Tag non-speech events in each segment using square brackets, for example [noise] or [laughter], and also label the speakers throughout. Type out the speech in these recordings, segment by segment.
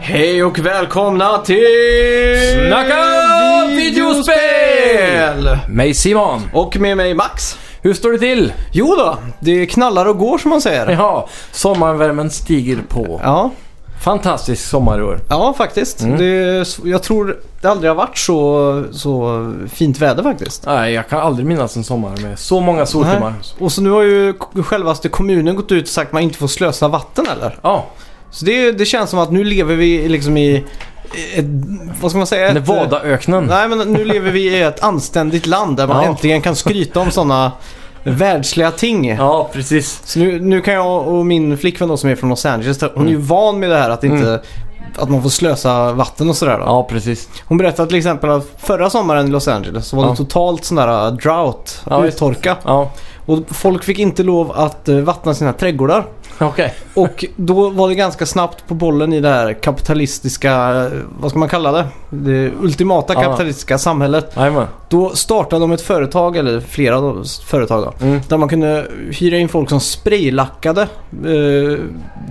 Speaker 1: Hej och välkomna till...
Speaker 2: Snacka
Speaker 1: videospel!
Speaker 2: Mig Simon!
Speaker 1: Och med mig Max.
Speaker 2: Hur står det till?
Speaker 1: Jo då, det knallar och går som man säger.
Speaker 2: Ja, sommarvärmen stiger på.
Speaker 1: Ja,
Speaker 2: Fantastisk sommar i år.
Speaker 1: ja faktiskt. Det, är s- jag tror det aldrig har varit så, så fint väder faktiskt.
Speaker 2: Nej, jag kan aldrig minnas en sommar med så många soltimmar.
Speaker 1: Och så nu har ju k- självaste kommunen gått ut och sagt att man inte får slösa vatten eller?
Speaker 2: Ja,
Speaker 1: Så det, det känns som att nu lever vi liksom i... Ett, vad ska man säga? Ett- eh,
Speaker 2: Nevadaöknen.
Speaker 1: Nej, men nu lever vi i ett anständigt land där man
Speaker 2: Ja.
Speaker 1: äntligen kan skryta om sådana världsliga ting.
Speaker 2: Ja, precis.
Speaker 1: Så nu, nu kan jag och min flickvän då, som är från Los Angeles, hon är ju
Speaker 2: Mm.
Speaker 1: van med det här att inte Att man får slösa vatten och sådär. Då.
Speaker 2: Ja, precis.
Speaker 1: Hon berättade till exempel att förra sommaren i Los Angeles så var det
Speaker 2: Ja.
Speaker 1: totalt sån där uh, drought,
Speaker 2: Ja, just
Speaker 1: uttorka.
Speaker 2: Ja, [laughs]
Speaker 1: Och folk fick inte lov att uh, vattna sina
Speaker 2: [laughs]
Speaker 1: trädgårdar.
Speaker 2: okej.
Speaker 1: Och då var det ganska snabbt på bollen i det här kapitalistiska, eh, vad ska man kalla det? Det ultimata
Speaker 2: Ja.
Speaker 1: kapitalistiska samhället.
Speaker 2: Jajamän.
Speaker 1: Då startade de ett företag, eller flera då- företag då,
Speaker 2: Mm.
Speaker 1: där man kunde hyra in folk som spraylackade eh,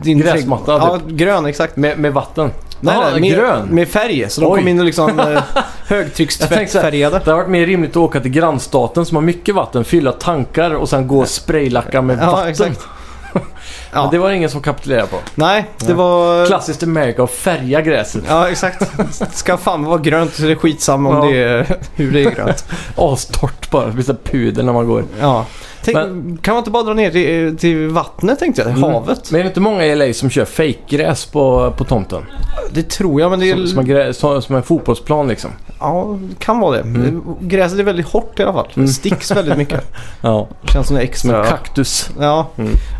Speaker 1: din
Speaker 2: Gräsmatta,
Speaker 1: trädgård. Ja, grön exakt.
Speaker 2: Med, med vatten.
Speaker 1: Nej,
Speaker 2: Jaha,
Speaker 1: nej, med,
Speaker 2: grön.
Speaker 1: Med färg. Så de
Speaker 2: Oj.
Speaker 1: kom in och liksom
Speaker 2: [laughs]
Speaker 1: eh,
Speaker 2: Jag tänkte så här-
Speaker 1: högtryckstvättfärgade.
Speaker 2: Det har varit mer rimligt att åka till grannstaten som har mycket vatten, fylla tankar och sen gå och spraylacka med
Speaker 1: [laughs] Ja,
Speaker 2: vatten.
Speaker 1: exakt.
Speaker 2: Men
Speaker 1: Ja.
Speaker 2: det var ingen som kapitulerade på.
Speaker 1: Nej, det var...
Speaker 2: Klassiskt America att färga gräset.
Speaker 1: Ja, exakt. Ska fan vara grönt så det är skitsamma om
Speaker 2: Ja.
Speaker 1: det är, hur det är grönt.
Speaker 2: Astort bara. Det blir så här pudel när man går.
Speaker 1: Ja. Tänk,
Speaker 2: Men- Mm.
Speaker 1: Kan man inte bara dra ner till, till vattnet tänkte jag? Havet?
Speaker 2: Men är det inte många i LA som kör fejkgräs på, på tomten?
Speaker 1: Det tror jag men det är...
Speaker 2: Som, som, en grä, som, som en fotbollsplan liksom.
Speaker 1: Ja, det kan vara det.
Speaker 2: Mm.
Speaker 1: Gräset är väldigt hårt i alla fall. Det sticks väldigt
Speaker 2: [laughs]
Speaker 1: mycket.
Speaker 2: Ja,
Speaker 1: Känns som det är
Speaker 2: Mm. som
Speaker 1: extra.
Speaker 2: en Mm. kaktus.
Speaker 1: Ja.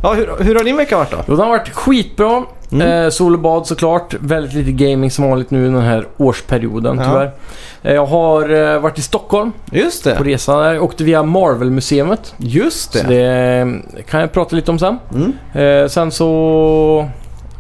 Speaker 1: ja hur, hur har din vecka varit då?
Speaker 2: Jo, den har varit skitbra.
Speaker 1: Mm.
Speaker 2: Eh, sol och bad såklart. Väldigt lite gaming som vanligt nu den här årsperioden
Speaker 1: Ja.
Speaker 2: tyvärr. Eh, jag har eh, varit i Stockholm
Speaker 1: Just
Speaker 2: på
Speaker 1: det.
Speaker 2: resa där. Jag åkte via Marvel-museet.
Speaker 1: Just
Speaker 2: Så
Speaker 1: det.
Speaker 2: det eh, kan jag prata lite om sen.
Speaker 1: Mm.
Speaker 2: Eh, sen så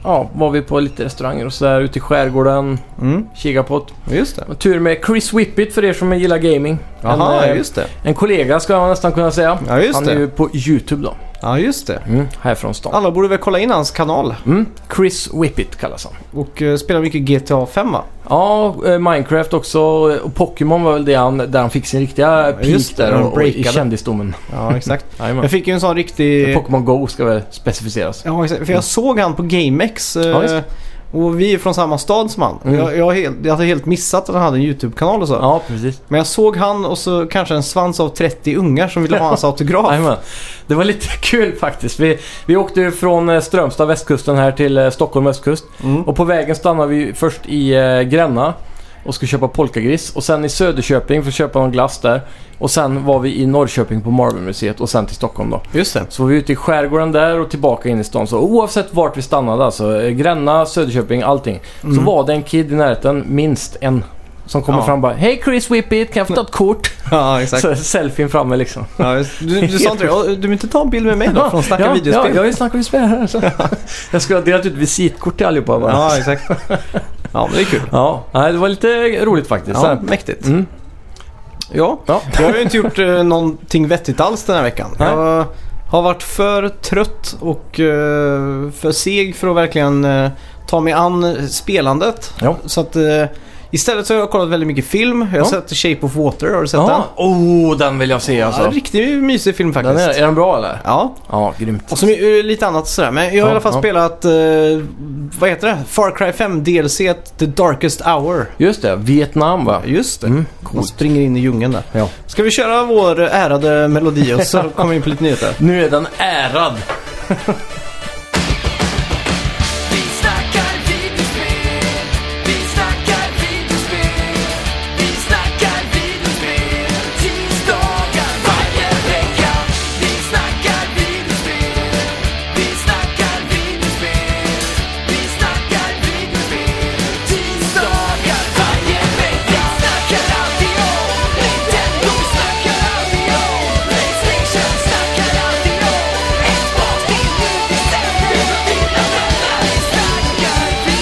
Speaker 2: ja, var vi på lite restauranger och sådär ute i skärgården.
Speaker 1: Mm.
Speaker 2: Kika på ett
Speaker 1: Just det.
Speaker 2: Och Tur med Chris Whippet för er som gillar gaming.
Speaker 1: Jaha,
Speaker 2: en, eh,
Speaker 1: just det.
Speaker 2: en kollega ska jag nästan kunna säga.
Speaker 1: Ja, just
Speaker 2: Han
Speaker 1: det. Mm.
Speaker 2: är ju på YouTube då.
Speaker 1: Ja, just det.
Speaker 2: Härifrån stan.
Speaker 1: Alla borde väl kolla in hans kanal
Speaker 2: Mm. Chris Whippet kallas han.
Speaker 1: och eh, spela mycket GTA 5 va?
Speaker 2: Ja, eh, Minecraft också och Pokémon var väl det han, där han fick sin riktiga
Speaker 1: just
Speaker 2: peak
Speaker 1: det,
Speaker 2: där
Speaker 1: han
Speaker 2: och, och i
Speaker 1: breakade.
Speaker 2: kändisdomen.
Speaker 1: Ja, exakt.
Speaker 2: Jajamän.
Speaker 1: Jag fick ju en sån riktig...
Speaker 2: Pokémon Go ska väl specificeras.
Speaker 1: Ja, exakt. För jag såg han på GameX. eh,
Speaker 2: Mm. Ja, visst.
Speaker 1: och vi är från samma stad som han.
Speaker 2: Mm.
Speaker 1: Jag, jag, har helt, jag hade helt missat att han hade en YouTube-kanal och så.
Speaker 2: Ja, precis.
Speaker 1: Men jag såg han och så kanske en svans av 30 ungar som ville ha
Speaker 2: [laughs]
Speaker 1: hans autograf.
Speaker 2: Jajamän. Det var lite [laughs] kul faktiskt. Vi, vi åkte ju från eh, Strömstad, västkusten här till eh, Stockholm, östkust.
Speaker 1: Mm.
Speaker 2: Och på vägen stannade vi först i eh, Gränna och skulle köpa polkagris. Och sen i Söderköping för att köpa någon glass där. Och sen var vi i Norrköping på Marvelmuseet och sen till Stockholm då.
Speaker 1: Just det.
Speaker 2: Så var vi ute i skärgården där och tillbaka in i stan. Så oavsett vart vi stannade alltså, eh, Gränna, Söderköping, allting. Så var det en kid i närheten, minst en. Som kommer
Speaker 1: Mm. Ja. Mm.
Speaker 2: fram och bara Hej Chris Whippet, kan jag få ta ett kort?
Speaker 1: Ja, exakt.
Speaker 2: Så selfien framme liksom.
Speaker 1: Ja, just- du, du sa inte det. "Ja, Du vill inte ta en bild med mig då från Snacka
Speaker 2: ja, Ja,
Speaker 1: videospel?
Speaker 2: jag har ju snackat videospel
Speaker 1: [laughs]
Speaker 2: här. Så. jag skulle ha delat ut visitkort till allihopa bara.
Speaker 1: Ja, exakt. Ja, men det är kul.
Speaker 2: Ja, nej, det var lite roligt faktiskt. Så
Speaker 1: Ja,
Speaker 2: här-
Speaker 1: mäktigt.
Speaker 2: Mm.
Speaker 1: Ja,
Speaker 2: Ja.
Speaker 1: jag har ju inte gjort eh, någonting vettigt alls den här veckan.
Speaker 2: Nej.
Speaker 1: Jag har varit för trött och eh, för seg för att verkligen eh, ta mig an spelandet.
Speaker 2: Ja.
Speaker 1: Så att eh, istället så har jag kollat väldigt mycket film. Jag har
Speaker 2: Ja.
Speaker 1: sett Shape of Water, har du sett
Speaker 2: Ja.
Speaker 1: den?
Speaker 2: Oh, den vill jag se
Speaker 1: Ja,
Speaker 2: alltså.
Speaker 1: riktigt mysig film faktiskt.
Speaker 2: Den är, är den bra eller?
Speaker 1: Ja,
Speaker 2: Ja, grymt.
Speaker 1: och som är eh, lite annat sådär. Men jag har i
Speaker 2: Ja,
Speaker 1: alla fall
Speaker 2: ja.
Speaker 1: spelat, eh, vad heter det? Far Cry 5 DLC The Darkest Hour.
Speaker 2: Just det, Vietnam va?
Speaker 1: Just det.
Speaker 2: Mm,
Speaker 1: Man
Speaker 2: coolt.
Speaker 1: springer in i djungeln där.
Speaker 2: Ja.
Speaker 1: Ska vi köra vår ärade melodi och [laughs] så kommer vi in på lite nyheter?
Speaker 2: Nu är den ärad.
Speaker 3: Vi snackar videospel, vi snackar videospel, vi snackar videospel, tisdagar varje vecka. Vi snackar videospel, vi snackar videospel, vi snackar videospel, tisdagar varje vecka. Vi snackar alltid om Nintendo, vi snackar alltid om Playstation, snackar alltid om Xbox, det är nu vi sänder, vi laddar, vi snackar video.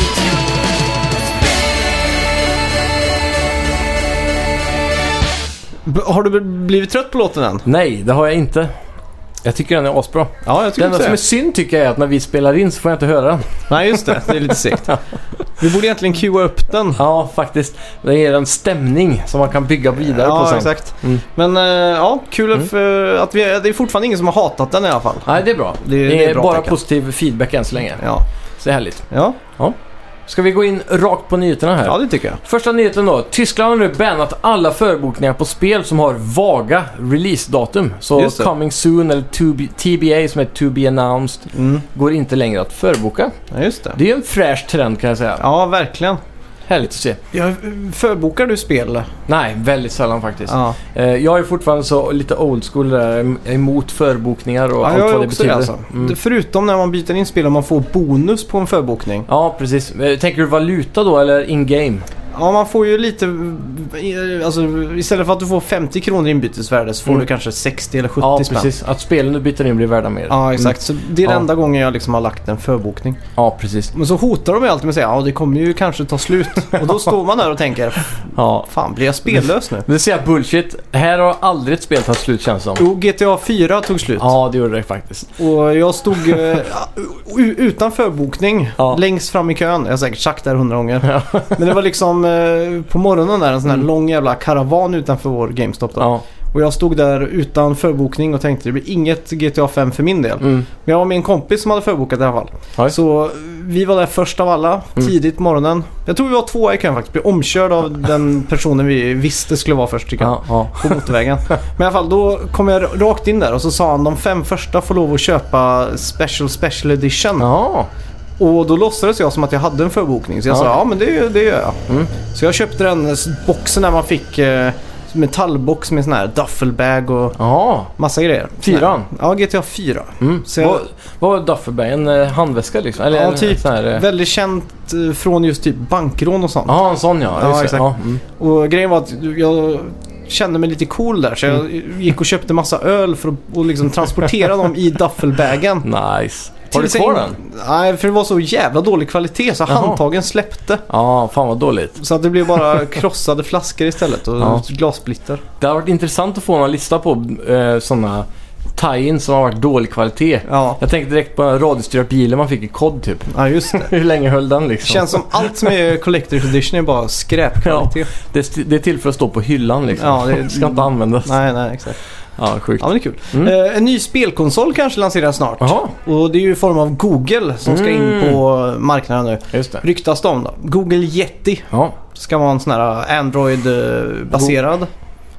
Speaker 1: B- har du bl- blivit trött på låten än?
Speaker 2: Nej, det har jag inte. Jag tycker den är asbra.
Speaker 1: Ja, jag
Speaker 2: Det
Speaker 1: tycker
Speaker 2: enda
Speaker 1: också
Speaker 2: som
Speaker 1: det.
Speaker 2: är synd tycker jag är att när vi spelar in så får jag inte höra den.
Speaker 1: Nej, just det. Det är lite [laughs] segt. Vi borde egentligen cuea upp den.
Speaker 2: Ja, faktiskt. Det ger en stämning som man kan bygga vidare på
Speaker 1: Ja,
Speaker 2: sen.
Speaker 1: exakt.
Speaker 2: Mm.
Speaker 1: Men eh, ja, kul för att vi, det är fortfarande ingen som har hatat den i alla fall.
Speaker 2: Nej, det är bra.
Speaker 1: Det-
Speaker 2: Det är,
Speaker 1: det är bra
Speaker 2: bara
Speaker 1: tecken.
Speaker 2: positiv feedback än så länge.
Speaker 1: Ja,
Speaker 2: Så det är härligt.
Speaker 1: ja,
Speaker 2: Ska vi gå in rakt på nyheterna här?
Speaker 1: ja det tycker jag.
Speaker 2: Första nyheten då. Tyskland har nu bannat alla förbokningar på spel som har vaga releasedatum. Så
Speaker 1: Just det.
Speaker 2: coming soon eller to be, TBA som är to be announced
Speaker 1: Mm.
Speaker 2: går inte längre att förboka.
Speaker 1: Ja, just det.
Speaker 2: Det är ju en fräsch trend kan jag säga.
Speaker 1: Ja, verkligen.
Speaker 2: Härligt att se.
Speaker 1: Ja, förbokar du spel?
Speaker 2: Nej, väldigt sällan faktiskt.
Speaker 1: Ja,
Speaker 2: Eh, Jag är fortfarande så lite old school där, em- emot förbokningar och
Speaker 1: ja
Speaker 2: allt
Speaker 1: jag
Speaker 2: vad
Speaker 1: är
Speaker 2: det
Speaker 1: också det
Speaker 2: betyder.
Speaker 1: alltså.
Speaker 2: Mm.
Speaker 1: Förutom när man byter in spel och man får bonus på en förbokning.
Speaker 2: Ja, precis. Eh, Tänker du valuta då eller in-game?
Speaker 1: Ja, man får ju lite... eh, Alltså, istället för att du får 50 kronor i inbytesvärde så får
Speaker 2: Mm.
Speaker 1: du kanske 60 eller 70
Speaker 2: Ja,
Speaker 1: spänn.
Speaker 2: precis. Att spelen du byter in blir värda mer.
Speaker 1: Ja, exakt. Så det är
Speaker 2: Ja.
Speaker 1: den enda gången jag liksom har lagt en förbokning.
Speaker 2: Mm. Ja, precis.
Speaker 1: Men så hotar de ju alltid med att säga ja, det kommer ju kanske ta
Speaker 2: [laughs]
Speaker 1: slut. Och då står man där och tänker
Speaker 2: Ja.
Speaker 1: fan blir jag spellös nu?
Speaker 2: Det ser jag bullshit. Här har aldrig ett spel tagit slut känns det som.
Speaker 1: Jo, GTA 4 tog slut.
Speaker 2: Ja, det gjorde det faktiskt.
Speaker 1: Och jag stod eh, u- utan förbokning
Speaker 2: Ja.
Speaker 1: längst fram i kön. Jag har säkert sagt det här hundra gånger. Men det var liksom eh, på morgonen där en sån här lång jävla karavan utanför vår GameStop. Då.
Speaker 2: Mm. Ja.
Speaker 1: Och jag stod där utan förbokning och tänkte det blir inget GTA 5 för min del.
Speaker 2: Mm.
Speaker 1: Men jag var med en kompis som hade förbokat i alla fall.
Speaker 2: Oj. Mm.
Speaker 1: Så eh, vi var där först av alla, tidigt på morgonen. Jag tror vi var två i kön faktiskt. Blev omkörd av den personen vi visste skulle vara först i kön.
Speaker 2: Ja, ja.
Speaker 1: På
Speaker 2: [laughs]
Speaker 1: motorvägen. Men i alla fall, då kom jag rakt in där och så sa han de fem första får lov att köpa Special Special Edition.
Speaker 2: ja.
Speaker 1: Och då låtsades jag som att jag hade en förbokning. Så jag
Speaker 2: Ja.
Speaker 1: sa ja men det, det gör jag.
Speaker 2: Mm.
Speaker 1: Så jag köpte den eh, boxen där man fick eh, metallbox med sån här duffelbag och
Speaker 2: ja.
Speaker 1: massa grejer.
Speaker 2: Fyran?
Speaker 1: Ja, GTA 4.
Speaker 2: Mm.
Speaker 1: Så jag-
Speaker 2: Vad, vad var Dufferberg? En eh, handväska liksom? Eller
Speaker 1: Ja,
Speaker 2: en
Speaker 1: typ.
Speaker 2: sån här... eh,
Speaker 1: Väldigt känt eh, från just typ bankrån och sånt.
Speaker 2: Ja, en sån ja.
Speaker 1: Ja,
Speaker 2: Just det.
Speaker 1: exakt.
Speaker 2: Ja, mm.
Speaker 1: Och grejen var att jag kände mig lite cool där så jag
Speaker 2: Mm.
Speaker 1: gick och köpte massa öl för att och liksom transportera dem
Speaker 2: [laughs]
Speaker 1: i duffelbagen.
Speaker 2: Nice. Har du
Speaker 1: Tills
Speaker 2: kvar
Speaker 1: jag in-
Speaker 2: den?
Speaker 1: Nej, för det var så jävla dålig kvalitet så
Speaker 2: Jaha.
Speaker 1: handtagen släppte.
Speaker 2: Ja, fan vad dåligt.
Speaker 1: Så att det blev
Speaker 2: [laughs]
Speaker 1: bara krossade flaskor istället och
Speaker 2: Ja.
Speaker 1: glassplitter.
Speaker 2: Det har varit intressant att få en lista på eh, sådana tie-in som har varit dålig kvalitet.
Speaker 1: Ja.
Speaker 2: Jag tänkte direkt på den radiostyrda bilen man fick i kod typ. [laughs]
Speaker 1: ja, just det.
Speaker 2: Hur länge höll den
Speaker 1: [laughs]
Speaker 2: liksom?
Speaker 1: Känns som allt som är Collector's Edition är bara skräpkvalitet.
Speaker 2: Det, är st- det är till för att stå på hyllan liksom.
Speaker 1: Ja, det-
Speaker 2: [laughs] ska inte användas.
Speaker 1: Nej, nej, exakt.
Speaker 2: Ja, sjukt.
Speaker 1: Ja, men det är kul.
Speaker 2: Mm.
Speaker 1: Eh, en ny spelkonsol kanske lanseras snart.
Speaker 2: Jaha,
Speaker 1: Och det är ju i form av Google som ska in
Speaker 2: Mm.
Speaker 1: på marknaden nu.
Speaker 2: just det.
Speaker 1: Ryktas det om då. Google Yeti
Speaker 2: Ja,
Speaker 1: ska vara en sån här eh, Android-baserad.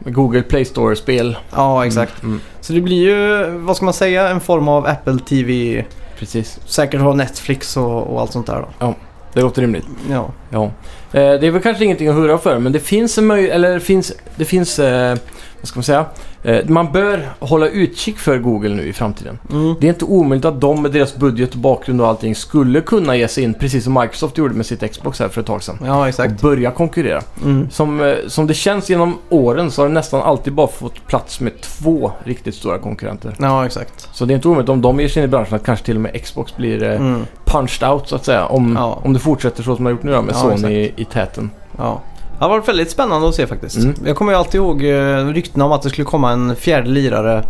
Speaker 2: Google Play Store-spel.
Speaker 1: Ja, exakt.
Speaker 2: Mm,
Speaker 1: Så det blir ju, vad ska man säga, en form av Apple TV.
Speaker 2: precis.
Speaker 1: Säkert ha Netflix och, och allt sånt där då.
Speaker 2: Det låter rimligt.
Speaker 1: Ja,
Speaker 2: Ja. Eh, det är väl kanske ingenting att hurra för, men det finns en möjlighet, eller det finns, det finns eh, vad ska man säga? Eh, man bör hålla utkik för Google nu i framtiden.
Speaker 1: mm.
Speaker 2: Det är inte omöjligt att de med deras budget och bakgrund och allting skulle kunna ge sig in, precis som Microsoft gjorde med sitt Xbox här för ett tag sedan.
Speaker 1: ja
Speaker 2: Och
Speaker 1: exakt.
Speaker 2: börja konkurrera.
Speaker 1: Mm.
Speaker 2: Som, eh, som det känns genom åren så har det nästan alltid bara fått plats med två riktigt stora konkurrenter.
Speaker 1: Ja, exakt.
Speaker 2: Så det är inte omöjligt om de ger sig in i branschen att kanske till och med Xbox blir eh,
Speaker 1: Mm.
Speaker 2: punched out så att säga. Om,
Speaker 1: Ja.
Speaker 2: om det fortsätter så som man har gjort nu då, med
Speaker 1: Ja,
Speaker 2: Sony i, i täten.
Speaker 1: Ja. Det har varit väldigt spännande att se faktiskt.
Speaker 2: Mm.
Speaker 1: Jag kommer ju alltid ihåg eh, ryktena om att det skulle komma en fjärde lirare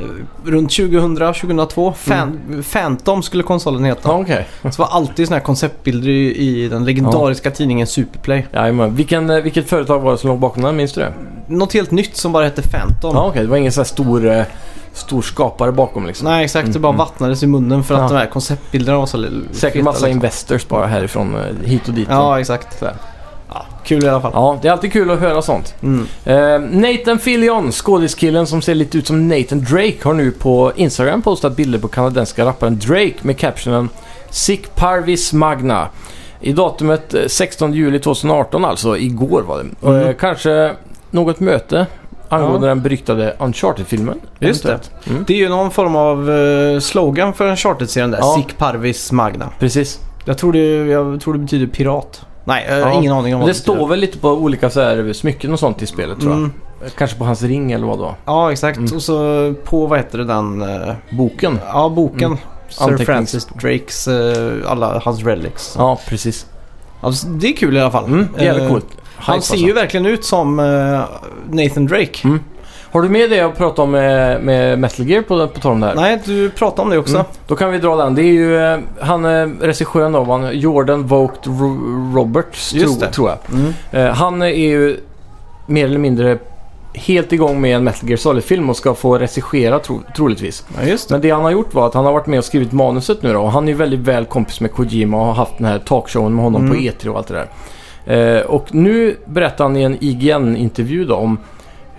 Speaker 1: eh, runt 2000-2002. Fan- Phantom skulle konsolen heta.
Speaker 2: Mm. Ja, okej. [laughs]
Speaker 1: Så var alltid såna här konceptbilder i, i den legendariska tidningen Superplay.
Speaker 2: Jajamän. Vilken, eh, vilket företag var det som låg bakom den? Minns du det?
Speaker 1: Något helt nytt som bara hette Phantom.
Speaker 2: Ja, okej. Det var ingen så här stor, eh, stor skapare bakom liksom.
Speaker 1: Nej exakt, det bara
Speaker 2: Mm,
Speaker 1: vattnades i munnen för att
Speaker 2: Ja.
Speaker 1: de här konceptbilderna var så l-
Speaker 2: Säkert
Speaker 1: feta,
Speaker 2: massa
Speaker 1: liksom.
Speaker 2: investors bara härifrån, eh, hit och dit.
Speaker 1: Ja exakt.
Speaker 2: Så här.
Speaker 1: Ja, kul i alla fall.
Speaker 2: ja, det är alltid kul att höra sånt.
Speaker 1: Mm.
Speaker 2: Eh, Nathan Fillion, skådiskillen som ser lite ut som Nathan Drake, har nu på Instagram postat bilder på kanadenska rapparen Drake med captionen Sick Parvis Magna. I datumet eh, 16 juli 2018 alltså, igår var det. Och,
Speaker 1: Mm.
Speaker 2: eh, kanske något möte angående den beryktade Uncharted-filmen?
Speaker 1: Just det.
Speaker 2: eventuellt. Mm.
Speaker 1: Det är ju någon form av eh, slogan för en charterserien där.
Speaker 2: Ja.
Speaker 1: Sic Parvis Magna.
Speaker 2: Precis.
Speaker 1: Jag tror det, jag tror det betyder pirat. Nej, jag har
Speaker 2: Ja.
Speaker 1: ingen aning om
Speaker 2: Men
Speaker 1: vad
Speaker 2: det står väl lite på olika så här, eh, smycken och sånt i spelet tror jag. Eh,
Speaker 1: Mm.
Speaker 2: Kanske på hans ring eller vad då?
Speaker 1: Ja, exakt.
Speaker 2: Mm.
Speaker 1: Och så på, vad heter det, den... eh,
Speaker 2: Boken?
Speaker 1: Ja, boken.
Speaker 2: Mm.
Speaker 1: Sir
Speaker 2: Antecknings-
Speaker 1: Francis Drakes, eh, alla hans relics.
Speaker 2: Ja, precis.
Speaker 1: Alltså, det är kul i alla fall.
Speaker 2: Mm, det är jävligt
Speaker 1: Eh,
Speaker 2: coolt. Hype
Speaker 1: Han ser
Speaker 2: alltså.
Speaker 1: ju verkligen ut som eh, Nathan Drake.
Speaker 2: Mm. Har du med det jag pratade om med, med Metal Gear på, på tal om det här?
Speaker 1: Nej, du pratade om det också.
Speaker 2: Mm. Då kan vi dra den. Det är ju eh, han eh, regissören av han, Jordan Vogt Ro- Roberts, tro,
Speaker 1: Just det.
Speaker 2: tror jag.
Speaker 1: Mm.
Speaker 2: Eh, han är ju mer eller mindre helt igång med en Metal Gear Solid-film och ska få regissera tro, troligtvis.
Speaker 1: Ja, just det.
Speaker 2: Men det han har gjort var att han har varit med och skrivit manuset nu då. Och han är ju väldigt väl kompis med Kojima och har haft den här talkshowen med honom på
Speaker 1: Mm.
Speaker 2: E3 och allt det där. Eh, och nu berättar han i en IGN-intervju då om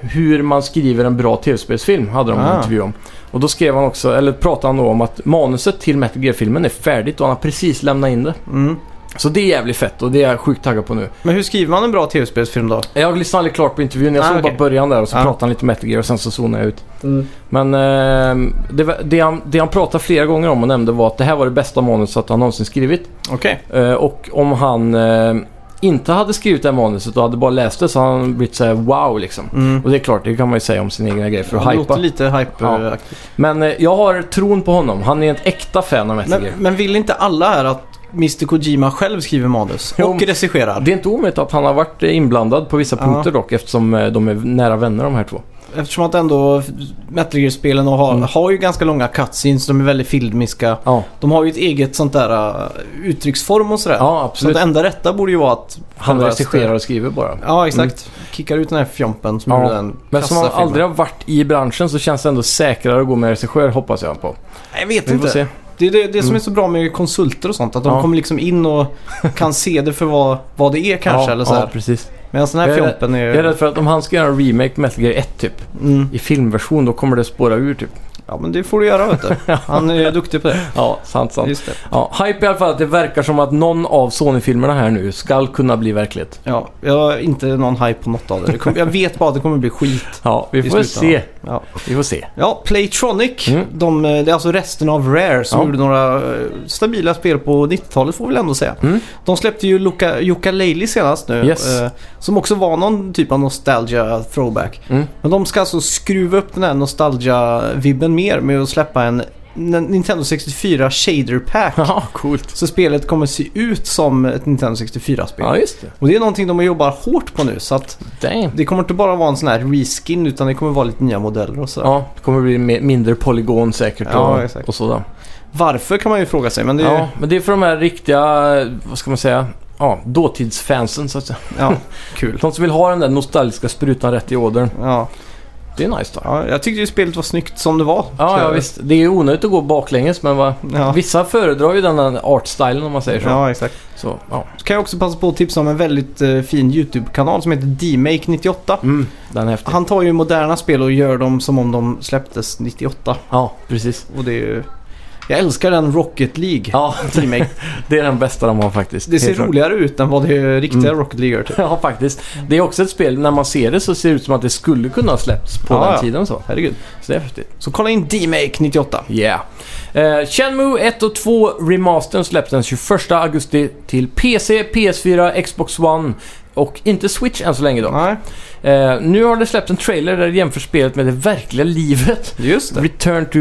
Speaker 2: hur man skriver en bra tv-spelsfilm, hade de en
Speaker 1: Ah.
Speaker 2: intervju om. Och då skrev han också, eller pratade han då om att manuset till Metal Gear-filmen är färdigt och han har precis lämnat in det.
Speaker 1: Mm.
Speaker 2: Så det är jävligt fett och det är jag sjukt taggad på nu.
Speaker 1: Men hur skriver man en bra tv-spelsfilm då?
Speaker 2: Jag lyssnade aldrig klart på intervjun, jag
Speaker 1: Ah,
Speaker 2: såg
Speaker 1: okej.
Speaker 2: bara början där och så
Speaker 1: Ah.
Speaker 2: pratade han lite Metal Gear och sen så zonade jag ut.
Speaker 4: Mm.
Speaker 2: Men eh, det, var- det, han, det han pratade flera gånger om och nämnde var att det här var det bästa manuset han någonsin skrivit.
Speaker 1: Okej.
Speaker 2: Eh, och om han eh, inte hade skrivit det här manuset och hade bara läst det så hade han blivit såhär wow liksom.
Speaker 1: Mm.
Speaker 2: Och det är klart, det kan man ju säga om sin egna grej för att
Speaker 1: Det
Speaker 2: hypa.
Speaker 1: låter lite hype
Speaker 2: Ja.
Speaker 1: eh,
Speaker 2: Men eh, jag har tron på honom. Han är ett äkta fan av Metal Gear.
Speaker 1: Men, men vill inte alla här att Mr Kojima själv skriver manus
Speaker 2: Jo.
Speaker 1: och regisserar?
Speaker 2: Det är inte omöjligt att han har varit eh, inblandad på vissa
Speaker 1: Ja.
Speaker 2: punkter dock eftersom eh, de är nära vänner de här två.
Speaker 1: Eftersom att ändå Metal Gear-spelen har,
Speaker 2: Mm.
Speaker 1: har ju ganska långa cutscenes, de är väldigt filmiska.
Speaker 2: Ja,
Speaker 1: De har ju ett eget sånt där eh, uttrycksform och sådär.
Speaker 2: ja
Speaker 1: Så
Speaker 2: absolut.
Speaker 1: det enda rätta borde ju vara att...
Speaker 2: Han
Speaker 1: själva-
Speaker 2: regisserar och skriver bara.
Speaker 1: Ja, exakt. Kickar ut den här fjompen som
Speaker 2: Mm. Ja.
Speaker 1: gjorde den
Speaker 2: Men som
Speaker 1: kassa
Speaker 2: han aldrig
Speaker 1: filmen.
Speaker 2: har varit i branschen så känns det ändå säkrare att gå med regissör hoppas jag på.
Speaker 1: Jag vet
Speaker 2: Vi får
Speaker 1: inte.
Speaker 2: se.
Speaker 1: Det är det, det som är så bra med konsulter och sånt. Att de
Speaker 2: Mm. Ja.
Speaker 1: kommer liksom in och kan se det för vad, vad det är kanske.
Speaker 2: ja,
Speaker 1: eller så
Speaker 2: Ja,
Speaker 1: här. Eh.
Speaker 2: precis.
Speaker 1: Medan den här
Speaker 2: Jag är rädd-
Speaker 1: fjompen är
Speaker 2: Jag är
Speaker 1: ju...
Speaker 2: rädd för att om han ska göra en remake på Metal Gear 1 typ,
Speaker 1: Mm.
Speaker 2: i filmversion, då kommer det spåra ur typ.
Speaker 1: Ja, men det får du göra
Speaker 2: [laughs]
Speaker 1: vet du. Han är duktig på det.
Speaker 2: Ja, sant, sant.
Speaker 1: Just det.
Speaker 2: Ja, hype i alla fall att det verkar som att någon av Sony-filmerna här nu ska kunna bli verklighet.
Speaker 1: Ja, jag har inte någon hype på något av det. det kommer, jag vet bara att det kommer bli skit.
Speaker 2: Ja, vi
Speaker 1: I
Speaker 2: får väl se.
Speaker 1: slutändan. Ja,
Speaker 2: Vi får se.
Speaker 1: ja Playtronic.
Speaker 2: Mm.
Speaker 1: De, eh, det är alltså resten av Rare som
Speaker 2: Ja.
Speaker 1: gjorde några eh, stabila spel på 90-talet får vi väl ändå säga.
Speaker 2: Mm.
Speaker 1: De släppte ju Luka, Yuka Leili senast nu.
Speaker 2: Yes.
Speaker 1: eh, Som också var någon typ av nostalgia throwback.
Speaker 2: Mm. [laughs]
Speaker 1: Men de ska alltså skruva upp den här nostalgia-vibben mer med att släppa en N- Nintendo 64 Shader Pack.
Speaker 2: Ja, coolt.
Speaker 1: Så spelet kommer se ut som ett Nintendo 64-spel.
Speaker 2: Ja, just det.
Speaker 1: Och det är någonting de jobbar hårt på nu så att
Speaker 2: Damn.
Speaker 1: det kommer inte bara vara en sån här reskin utan det kommer vara lite nya modeller och så.
Speaker 2: Ja, det kommer bli mer- mindre polygon säkert och,
Speaker 1: Ja, exakt.
Speaker 2: och sådär.
Speaker 1: Varför kan man ju fråga sig men det
Speaker 2: Ja,
Speaker 1: är
Speaker 2: men det är för de här riktiga, vad ska man säga, ja, dåtidsfansen så att säga.
Speaker 1: ja, kul.
Speaker 2: De som vill ha den där nostalgiska sprutan rätt i ådern.
Speaker 1: Ja.
Speaker 2: Det är nice då.
Speaker 1: ja, jag tyckte ju spelet var snyggt som det var.
Speaker 2: Ja, ja visst. Det är ju onödigt att gå baklänges men vad...
Speaker 1: Ja.
Speaker 2: Vissa föredrar ju den där artstylen om man säger så.
Speaker 1: Ja, exakt.
Speaker 2: Så, ja.
Speaker 1: Så kan jag också passa på att tipsa om en väldigt eh, fin YouTube-kanal som heter DMake98.
Speaker 2: Mm, den är häftig.
Speaker 1: Han tar ju moderna spel och gör dem som om de släpptes 98.
Speaker 2: Ja, precis.
Speaker 1: Och det är ju... Jag älskar den Rocket League.
Speaker 2: Ja, [laughs]
Speaker 1: Remake.
Speaker 2: det är den bästa de har faktiskt.
Speaker 1: Det ser
Speaker 2: Helt klart.
Speaker 1: roligare ut än vad det riktiga
Speaker 2: Mm.
Speaker 1: Rocket League gör typ.
Speaker 2: Ja, faktiskt. Det är också ett spel, när man ser det så ser det ut som att det skulle kunna ha släppts på
Speaker 1: Ja,
Speaker 2: den
Speaker 1: ja.
Speaker 2: tiden så.
Speaker 1: Herregud.
Speaker 2: Så det är häftigt.
Speaker 1: Så kolla in DMake98.
Speaker 2: Yeah. Eh, Shenmue 1 och 2 Remastern släpps den 21 augusti till PC, PS4, Xbox One och inte Switch än så länge då.
Speaker 1: Nej,
Speaker 2: Eh, nu har det släppt en trailer där det jämför spelet med det verkliga livet.
Speaker 1: just det.
Speaker 2: Return to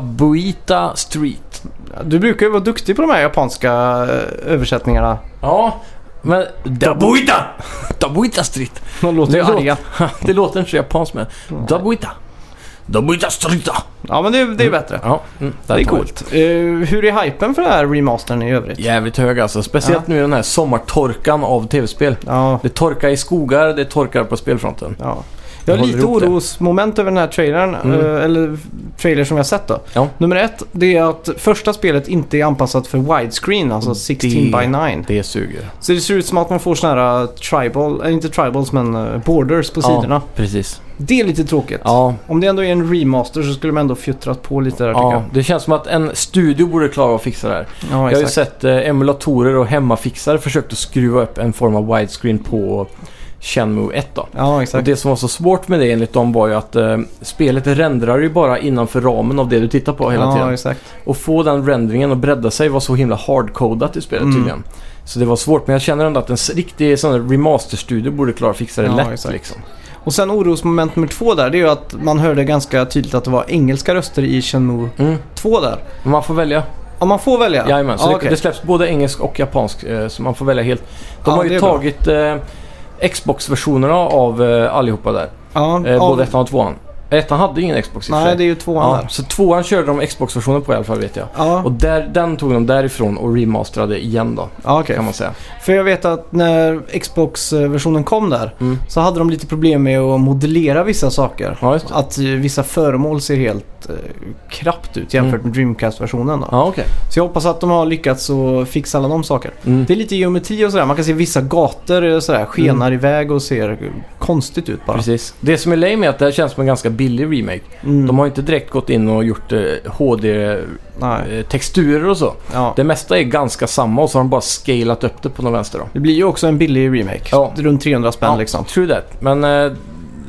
Speaker 2: Dabuita Street.
Speaker 1: Du brukar ju vara duktig på de här japanska eh, översättningarna.
Speaker 2: Ja, men... Dabuita! [laughs] Dabuita Street.
Speaker 1: De låter ju
Speaker 2: Det låter-
Speaker 1: arga.
Speaker 2: [laughs] det låter inte så japanskt men... Dabuita. Dabuita Street.
Speaker 1: Ja, men det, det är bättre.
Speaker 2: Ja, mm,
Speaker 1: Det är
Speaker 2: där tar vi.
Speaker 1: coolt. Eh, hur är hypen för den här remastern i övrigt?
Speaker 2: Jävligt hög alltså. Speciellt nu i den här sommartorkan av tv-spel.
Speaker 1: Ja.
Speaker 2: Det torkar i skogar, det torkar på spelfronten.
Speaker 1: ja. Jag
Speaker 2: Jag
Speaker 1: har
Speaker 2: håller
Speaker 1: lite
Speaker 2: ihop det.
Speaker 1: orosmoment över den här trailern,
Speaker 2: Mm.
Speaker 1: eh, eller trailer som jag har sett då.
Speaker 2: Ja.
Speaker 1: Nummer ett, det är att första spelet inte är anpassat för widescreen, alltså 16 by 9.
Speaker 2: Det suger.
Speaker 1: Så det ser ut som att man får såna här eh, tribal, eh, inte tribals men eh, borders på sidorna.
Speaker 2: Ja, precis.
Speaker 1: Det är lite tråkigt.
Speaker 2: Ja,
Speaker 1: Om det ändå är en remaster så skulle man ändå fjuttrat på lite där
Speaker 2: ja,
Speaker 1: tycker
Speaker 2: det känns som att en studio borde klara av att fixa det här.
Speaker 1: jag. Ja,
Speaker 2: Jag har ju sett eh, emulatorer och hemmafixare försökt att skruva upp en form av widescreen på Shenmue 1 då.
Speaker 1: Ja,
Speaker 2: Och
Speaker 1: exakt.
Speaker 2: det som var så svårt med det enligt dem var ju att eh, spelet rendrar ju bara innanför ramen av det du tittar på hela
Speaker 1: ja,
Speaker 2: tiden.
Speaker 1: exakt.
Speaker 2: Och få den rendringen att bredda sig var så himla hardcodat i spelet
Speaker 1: Mm.
Speaker 2: tydligen. Så det var svårt men jag känner ändå att en s- riktig sån här remasterstudio borde klara att fixa det
Speaker 1: Ja,
Speaker 2: lätt
Speaker 1: exakt.
Speaker 2: liksom.
Speaker 1: Och sen orosmoment nummer två där, det är ju att man hörde ganska tydligt att det var engelska röster i Shenmue
Speaker 2: Mm.
Speaker 1: 2 där.
Speaker 2: Men man får välja.
Speaker 1: Om man får välja?
Speaker 2: Jajamän, så
Speaker 1: ja,
Speaker 2: det,
Speaker 1: okej.
Speaker 2: det släpps både engelsk och japansk eh, så man får välja helt.
Speaker 1: Ja,
Speaker 2: De har
Speaker 1: det
Speaker 2: ju
Speaker 1: är bra.
Speaker 2: tagit eh, Xbox-versionerna av eh, allihopa där.
Speaker 1: Ja,
Speaker 2: Eh,
Speaker 1: av-
Speaker 2: Både ettan och tvåan. Ettan hade ingen Xbox i och för
Speaker 1: Nej,
Speaker 2: sig.
Speaker 1: det är ju tvåan
Speaker 2: ja,
Speaker 1: där.
Speaker 2: Så tvåan körde de Xbox-versionen på i alla fall vet jag.
Speaker 1: Ja,
Speaker 2: Och där, den tog de därifrån och remasterade igen då,
Speaker 1: ja okej.
Speaker 2: kan man säga.
Speaker 1: För jag vet att när Xbox-versionen kom där
Speaker 2: Mm.
Speaker 1: så hade de lite problem med att modellera vissa saker.
Speaker 2: Ja, just det.
Speaker 1: Att eh, vissa föremål ser helt eh, krappt ut jämfört
Speaker 2: Mm.
Speaker 1: med Dreamcast-versionen. Då.
Speaker 2: Ja, okej.
Speaker 1: Så jag hoppas att de har lyckats att fixa alla de saker.
Speaker 2: Mm.
Speaker 1: Det är lite geometri och sådär. Man kan se vissa gator eh, sådär, skenar iväg och ser eh, konstigt ut bara.
Speaker 2: Mm. Precis. Det som är lame är att det här känns som en ganska billig remake.
Speaker 1: Mm.
Speaker 2: De har inte direkt gått in och gjort eh, HD-texturer
Speaker 1: Nej.
Speaker 2: och så.
Speaker 1: Ja.
Speaker 2: Det mesta är ganska samma och så har de bara scalat upp det på någon vänster då.
Speaker 1: Det blir ju också en billig remake.
Speaker 2: Ja.
Speaker 1: Runt 300 spänn
Speaker 2: Ja,
Speaker 1: liksom.
Speaker 2: True that. Men eh,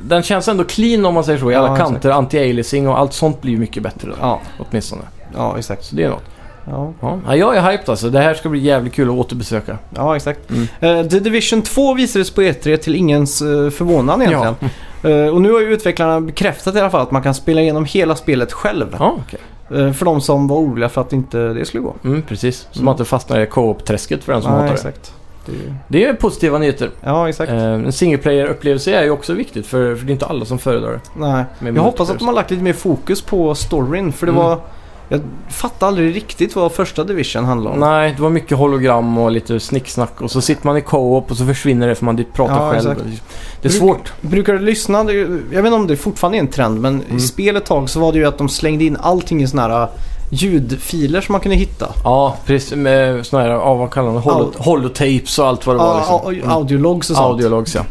Speaker 2: den känns ändå clean om man säger så i alla
Speaker 1: Ja, exakt.
Speaker 2: kanter. Anti-aliasing och allt sånt blir ju mycket bättre då.
Speaker 1: Ja,
Speaker 2: Åtminstone.
Speaker 1: ja exakt.
Speaker 2: Så det är något.
Speaker 1: Ja,
Speaker 2: Ja. Ja, jag är hyped alltså. Det här ska bli jävligt kul att återbesöka.
Speaker 1: ja exakt.
Speaker 2: Mm.
Speaker 1: Eh, The Division 2 visades på E3 till ingens eh, förvånan egentligen. Eh, och nu har ju utvecklarna bekräftat i alla fall att man kan spela igenom hela spelet själv.
Speaker 2: Ja, okej.
Speaker 1: Eh, för de som var oroliga för att inte det skulle gå.
Speaker 2: Mm, precis. Så
Speaker 1: Mm.
Speaker 2: man inte fastnar i co-op-träsket för den som hatar det.
Speaker 1: exakt. Det-
Speaker 2: Det är positiva nyheter.
Speaker 1: Ja, exakt.
Speaker 2: Eh, en single player-upplevelse är ju också viktigt för, för det är inte alla som föredrar det.
Speaker 1: Nej.
Speaker 2: Men
Speaker 1: Jag hoppas att de har lagt lite mer fokus på storyn för det
Speaker 2: Mm.
Speaker 1: var... Jag fattade aldrig riktigt vad första Division handlade om.
Speaker 2: Nej, det var mycket hologram och lite snicksnack och så sitter man i co-op och så försvinner det för man pratar
Speaker 1: Ja,
Speaker 2: själv. Det är
Speaker 1: Bruk-
Speaker 2: svårt.
Speaker 1: Brukar du lyssna? Det- Jag vet inte om det fortfarande är en trend men
Speaker 2: Mm.
Speaker 1: i spel ett tag så var det ju att de slängde in allting i såna här eh, ljudfiler som man kunde hitta.
Speaker 2: Ja, precis. Med såna här, ja, vad kallar man det? Holo-
Speaker 1: Au-
Speaker 2: Holotapes och allt vad det var liksom.
Speaker 1: Ja, au- Audiologs och sånt.
Speaker 2: Audiologs ja.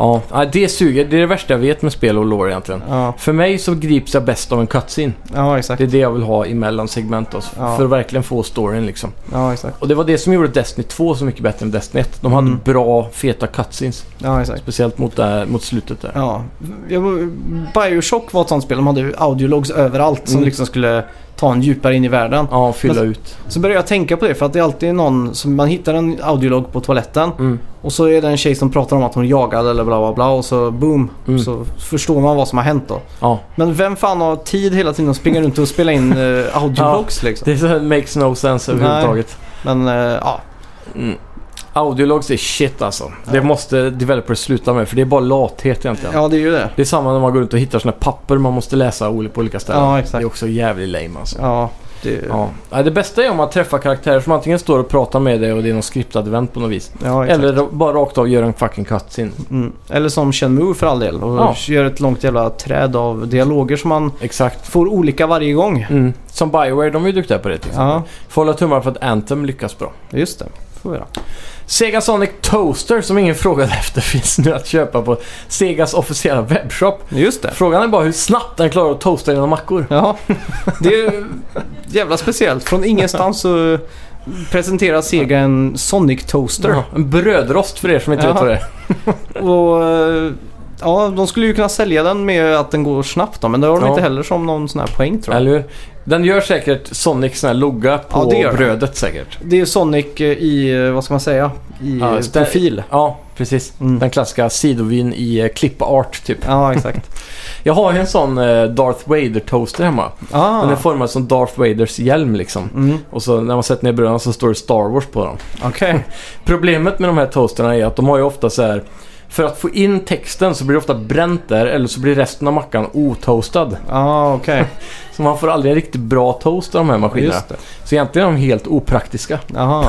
Speaker 2: Ja, nej, det suger. Det är det värsta jag vet med spel och lore egentligen.
Speaker 1: Ja,
Speaker 2: För mig så grips jag bäst av en cutscene.
Speaker 1: ja exakt.
Speaker 2: Det är det jag vill ha emellan segment alltså,
Speaker 1: Ja.
Speaker 2: För att verkligen få storyn liksom.
Speaker 1: Ja, exakt.
Speaker 2: Och det var det som gjorde Destiny 2 så mycket bättre än Destiny 1. De hade
Speaker 1: Mm.
Speaker 2: bra, feta cutscenes.
Speaker 1: Ja, exakt.
Speaker 2: Speciellt mot, där, mot slutet där.
Speaker 1: Ja. Jag, Bioshock var ett sånt spel. De hade ju audiologs överallt som
Speaker 2: Mm.
Speaker 1: liksom skulle ta en djupare in i världen.
Speaker 2: Ja, fylla ut.
Speaker 1: Så började jag tänka på det för att det är alltid någon som man hittar en audiolog på toaletten
Speaker 2: Mm.
Speaker 1: och så är det en tjej som pratar om att hon är jagad eller bla bla bla och så boom.
Speaker 2: Mm.
Speaker 1: Så förstår man vad som har hänt då.
Speaker 2: Ja,
Speaker 1: Men vem fan har tid hela tiden att springa runt och spela
Speaker 2: [laughs]
Speaker 1: in eh, audiologs liksom?
Speaker 2: det [laughs] är så här makes no sense
Speaker 1: Nej.
Speaker 2: överhuvudtaget.
Speaker 1: Men eh, ja,
Speaker 2: Mm. Audiologs är shit alltså. Det
Speaker 1: Ja.
Speaker 2: måste developers sluta med för det är bara lathet egentligen.
Speaker 1: ja det är ju det.
Speaker 2: Det är samma när man går runt och hittar såna här papper man måste läsa oli- på olika ställen.
Speaker 1: Ja,
Speaker 2: det är
Speaker 1: exakt.
Speaker 2: också jävligt lame alltså.
Speaker 1: Ja, det, ja,
Speaker 2: Ja. Nej, Det bästa är om man träffar karaktärer som antingen står och pratar med dig och det är någon skriptad event på något vis.
Speaker 1: exakt.
Speaker 2: Eller ra- bara rakt av gör en fucking cutscene.
Speaker 1: Mm. eller som Shenmue för all del och
Speaker 2: Ja.
Speaker 1: gör ett långt jävla träd av dialoger som man
Speaker 2: Exakt.
Speaker 1: får olika varje gång.
Speaker 2: Mm. Som Bioware, de är ju duktiga på det till exempel.
Speaker 1: Ja,
Speaker 2: Får hålla tummarna för att Anthem lyckas bra.
Speaker 1: just det. Får vi göra.
Speaker 2: Sega Sonic Toaster som ingen [laughs] frågade efter finns nu att köpa på Segas officiella webbshop.
Speaker 1: Just det.
Speaker 2: Frågan är bara hur snabbt den klarar att toasta dina mackor.
Speaker 1: Ja, [laughs] det är ju jävla speciellt. Från ingenstans så presenterar Sega en Sonic Toaster.
Speaker 2: Ja, En brödrost för er som inte
Speaker 1: Ja.
Speaker 2: vet vad det är.
Speaker 1: Och eh, ja, de skulle ju kunna sälja den med att den går snabbt då, men det har de
Speaker 2: Ja.
Speaker 1: inte heller som någon sån här poäng tror jag.
Speaker 2: Eller hur? Den gör säkert Sonics sån här logga på
Speaker 1: Ja, det gör den.
Speaker 2: brödet säkert.
Speaker 1: Det är Sonic eh, i, eh, vad ska man säga, i
Speaker 2: Ja,
Speaker 1: eh,
Speaker 2: stä-
Speaker 1: profil.
Speaker 2: Ja, precis.
Speaker 1: Mm.
Speaker 2: Den klassiska sidovyn i eh, clip art typ.
Speaker 1: Ja,
Speaker 2: [laughs]
Speaker 1: exakt.
Speaker 2: Jag har ju en sån eh, Darth Vader toaster hemma. Den är
Speaker 1: Ah.
Speaker 2: formad som Darth Vaders hjälm liksom.
Speaker 1: Mm,
Speaker 2: Och så när man sätter ner bröden så står det Star Wars på dem.
Speaker 1: Ah, Okej.
Speaker 2: Problemet med de här toasterna är att de har ju ofta så här för att få in texten så blir det ofta bränt där eller så blir resten av mackan otoastad.
Speaker 1: Ja, okej.
Speaker 2: Så man får aldrig en riktigt bra toast av de här maskinerna.
Speaker 1: Just det.
Speaker 2: Så egentligen är de helt opraktiska.
Speaker 1: Jaha.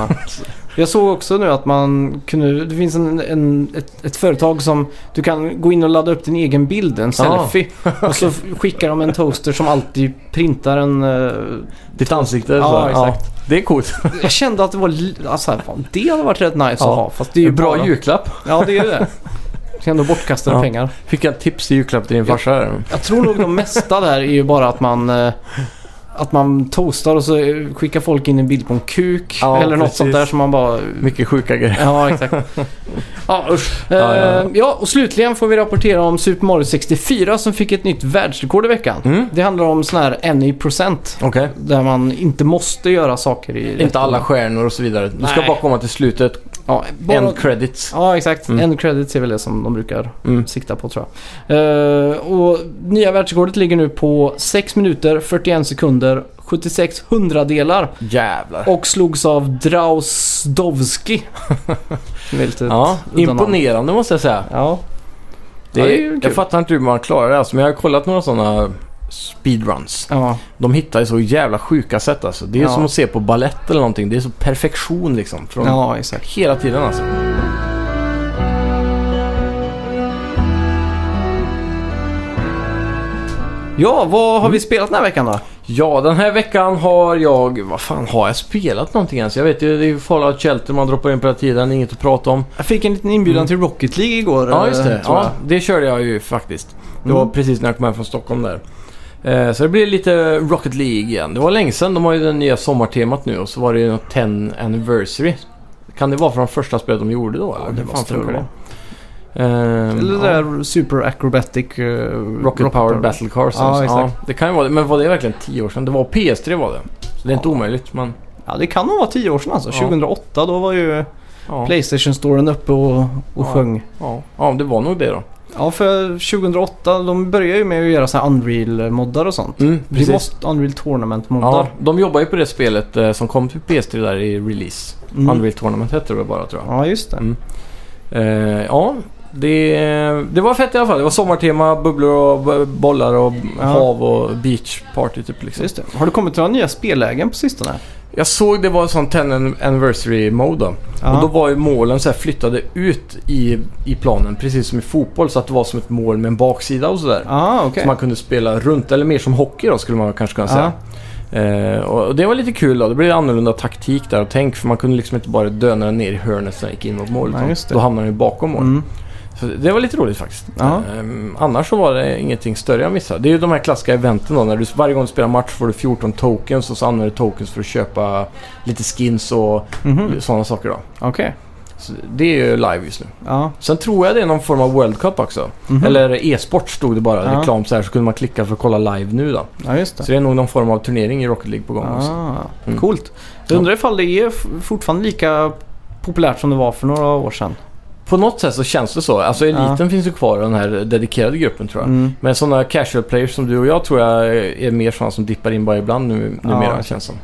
Speaker 1: Jag såg också nu att man kunde, det finns en, en, ett, ett företag som du kan gå in och ladda upp din egen bild, en
Speaker 2: [laughs]
Speaker 1: selfie. Och så skickar de en toaster som alltid printar en... eh,
Speaker 2: Ditt ansikte
Speaker 1: Ja,
Speaker 2: så här.
Speaker 1: exakt.
Speaker 2: Ja, det är coolt. [laughs]
Speaker 1: jag kände att det var... li- Alltså, här, fan, det hade varit rätt nice att
Speaker 2: Ja.
Speaker 1: ha. Fast det är ju
Speaker 2: bra
Speaker 1: bara,
Speaker 2: julklapp.
Speaker 1: Ja, det är ju det. Det är ändå bortkastade
Speaker 2: Ja.
Speaker 1: pengar.
Speaker 2: Fick jag ett tips till julklapp till din
Speaker 1: Ja.
Speaker 2: farsa här.
Speaker 1: Jag tror nog de mesta där är ju bara att man... eh, Att man toastar och så eh, skickar folk in en bild på en kuk
Speaker 2: Ja,
Speaker 1: eller något
Speaker 2: precis.
Speaker 1: sånt där som man bara...
Speaker 2: Mycket sjuka grejer.
Speaker 1: Ja, exakt. Ja, usch. Eh,
Speaker 2: Ja, ja,
Speaker 1: ja,
Speaker 2: ja.
Speaker 1: och slutligen får vi rapportera om Super Mario 64 som fick ett nytt världsrekord i veckan.
Speaker 2: Mm.
Speaker 1: Det handlar om sån här any procent.
Speaker 2: Okej.
Speaker 1: Där man inte måste göra saker i... rätt
Speaker 2: Inte alla
Speaker 1: ordning.
Speaker 2: stjärnor och så vidare. Du ska
Speaker 1: Nej.
Speaker 2: bara komma till slutet.
Speaker 1: Ja, bara...
Speaker 2: End credits.
Speaker 1: Ja, exakt.
Speaker 2: Mm.
Speaker 1: End credits är väl det som de brukar
Speaker 2: Mm.
Speaker 1: sikta på tror jag. Eh, och nya världsrekordet ligger nu på 6 minuter, 41 sekunder, 76 hundradelar
Speaker 2: Jävlar.
Speaker 1: och slogs av
Speaker 2: [laughs]
Speaker 1: Drausdowski. Som är lite ett
Speaker 2: Ja,
Speaker 1: udda namn.
Speaker 2: imponerande måste jag säga.
Speaker 1: Ja,
Speaker 2: Det
Speaker 1: Ja,
Speaker 2: är,
Speaker 1: det är ju kul.
Speaker 2: jag fattar inte hur man klarar det alltså, men jag har kollat några sådana speedruns.
Speaker 1: Ja,
Speaker 2: De hittar ju så jävla sjuka sätt alltså. Det är
Speaker 1: Ja.
Speaker 2: som att se på ballett eller någonting. Det är så perfektion liksom. Från
Speaker 1: ja exakt.
Speaker 2: Hela tiden alltså.
Speaker 1: Ja, vad har vi spelat den här veckan då?
Speaker 2: Ja, den här veckan har jag... Vad fan har jag spelat någonting ens? Jag vet ju, det är ju Fallout Shelter man droppar in på hela tiden. Inget att prata om.
Speaker 1: Jag fick en liten inbjudan till Rocket League igår.
Speaker 2: Ja, just det.
Speaker 1: eh, tror
Speaker 2: Ja,
Speaker 1: jag.
Speaker 2: det körde jag ju faktiskt. Det var
Speaker 1: Mm.
Speaker 2: precis när jag kom hem från Stockholm där. Eh, Så det blir lite Rocket League igen. Det var länge sedan. De har ju det nya sommartemat nu och så var det ju något 10 anniversary. Kan det vara från första spelet de gjorde då? Eller?
Speaker 1: det
Speaker 2: Hur fan
Speaker 1: måste det
Speaker 2: funkar
Speaker 1: vara.
Speaker 2: Ehm,
Speaker 1: Mm. Eller det
Speaker 2: ja.
Speaker 1: där Super Acrobatic... eh,
Speaker 2: Rocket Powered Battle Cars. alltså.
Speaker 1: exakt.
Speaker 2: det kan ju vara det. Men var det verkligen 10 år sedan? Det var PS3 var det. Så det är inte
Speaker 1: Ja.
Speaker 2: omöjligt. Men,
Speaker 1: Ja, det kan nog vara tio år sedan alltså.
Speaker 2: Ja.
Speaker 1: 2008, då var ju
Speaker 2: ja.
Speaker 1: Playstation-storen uppe och, och
Speaker 2: Ja.
Speaker 1: sjöng.
Speaker 2: Ja. ja, det var nog det då.
Speaker 1: Ja, för 2008, de började ju med att göra så här Unreal-moddar och sånt.
Speaker 2: Mm,
Speaker 1: Vi måste Unreal Tournament-moddar.
Speaker 2: Ja, de jobbar ju på det spelet eh, som kom till PS3 där i release.
Speaker 1: Mm.
Speaker 2: Unreal Tournament hette det bara tror jag.
Speaker 1: Ja, just det.
Speaker 2: Mm. Eh, ja, det, det var fett i alla fall. Det var sommartema, bubblor och b- bollar och
Speaker 1: Ja.
Speaker 2: hav och beach party typ liksom.
Speaker 1: Just det. Har det kommit några nya spellägen på sistone?
Speaker 2: Jag såg det var en sån 10 anniversary mode då. Och då var ju målen så här flyttade ut i, i planen precis som i fotboll så att det var som ett mål med en baksida och sådär.
Speaker 1: ah, okej.
Speaker 2: Så man kunde spela runt, eller mer som hockey då skulle man kanske kunna säga. Eh, och det var lite kul då. Det blev annorlunda taktik där och tänk för man kunde liksom inte bara döna den ner i hörnet sen gick in mot målet.
Speaker 1: Nej, just det.
Speaker 2: då hamnade den ju bakom målet.
Speaker 1: Mm.
Speaker 2: Så det var lite roligt faktiskt.
Speaker 1: Ja.
Speaker 2: Ehm, annars så var det ingenting större jag missade. Det är ju de här klassiska eventen då. När du, varje gång du spelar match får du 14 tokens och så använder du tokens för att köpa lite skins och
Speaker 1: Mhm.
Speaker 2: sådana saker då.
Speaker 1: Okej.
Speaker 2: Så det är ju live just nu.
Speaker 1: Ja.
Speaker 2: Sen tror jag det är någon form av World Cup också.
Speaker 1: Mhm.
Speaker 2: Eller e-sport stod det bara.
Speaker 1: Ja.
Speaker 2: Reklam så här så kunde man klicka för att kolla live nu då.
Speaker 1: ja, just det.
Speaker 2: Så det är nog någon form av turnering i Rocket League på gång också.
Speaker 1: Ah,
Speaker 2: Mm.
Speaker 1: Coolt. Jag undrar ifall det är f- fortfarande lika populärt som det var för några år sedan.
Speaker 2: På något sätt så känns det så. Alltså eliten finns ju kvar i den här dedikerade gruppen tror jag.
Speaker 1: Mm.
Speaker 2: Men sådana casual players som du och jag tror jag är mer sådana som dippar in bara ibland nu,
Speaker 1: Ja,
Speaker 2: numera
Speaker 1: exakt.
Speaker 2: känns som.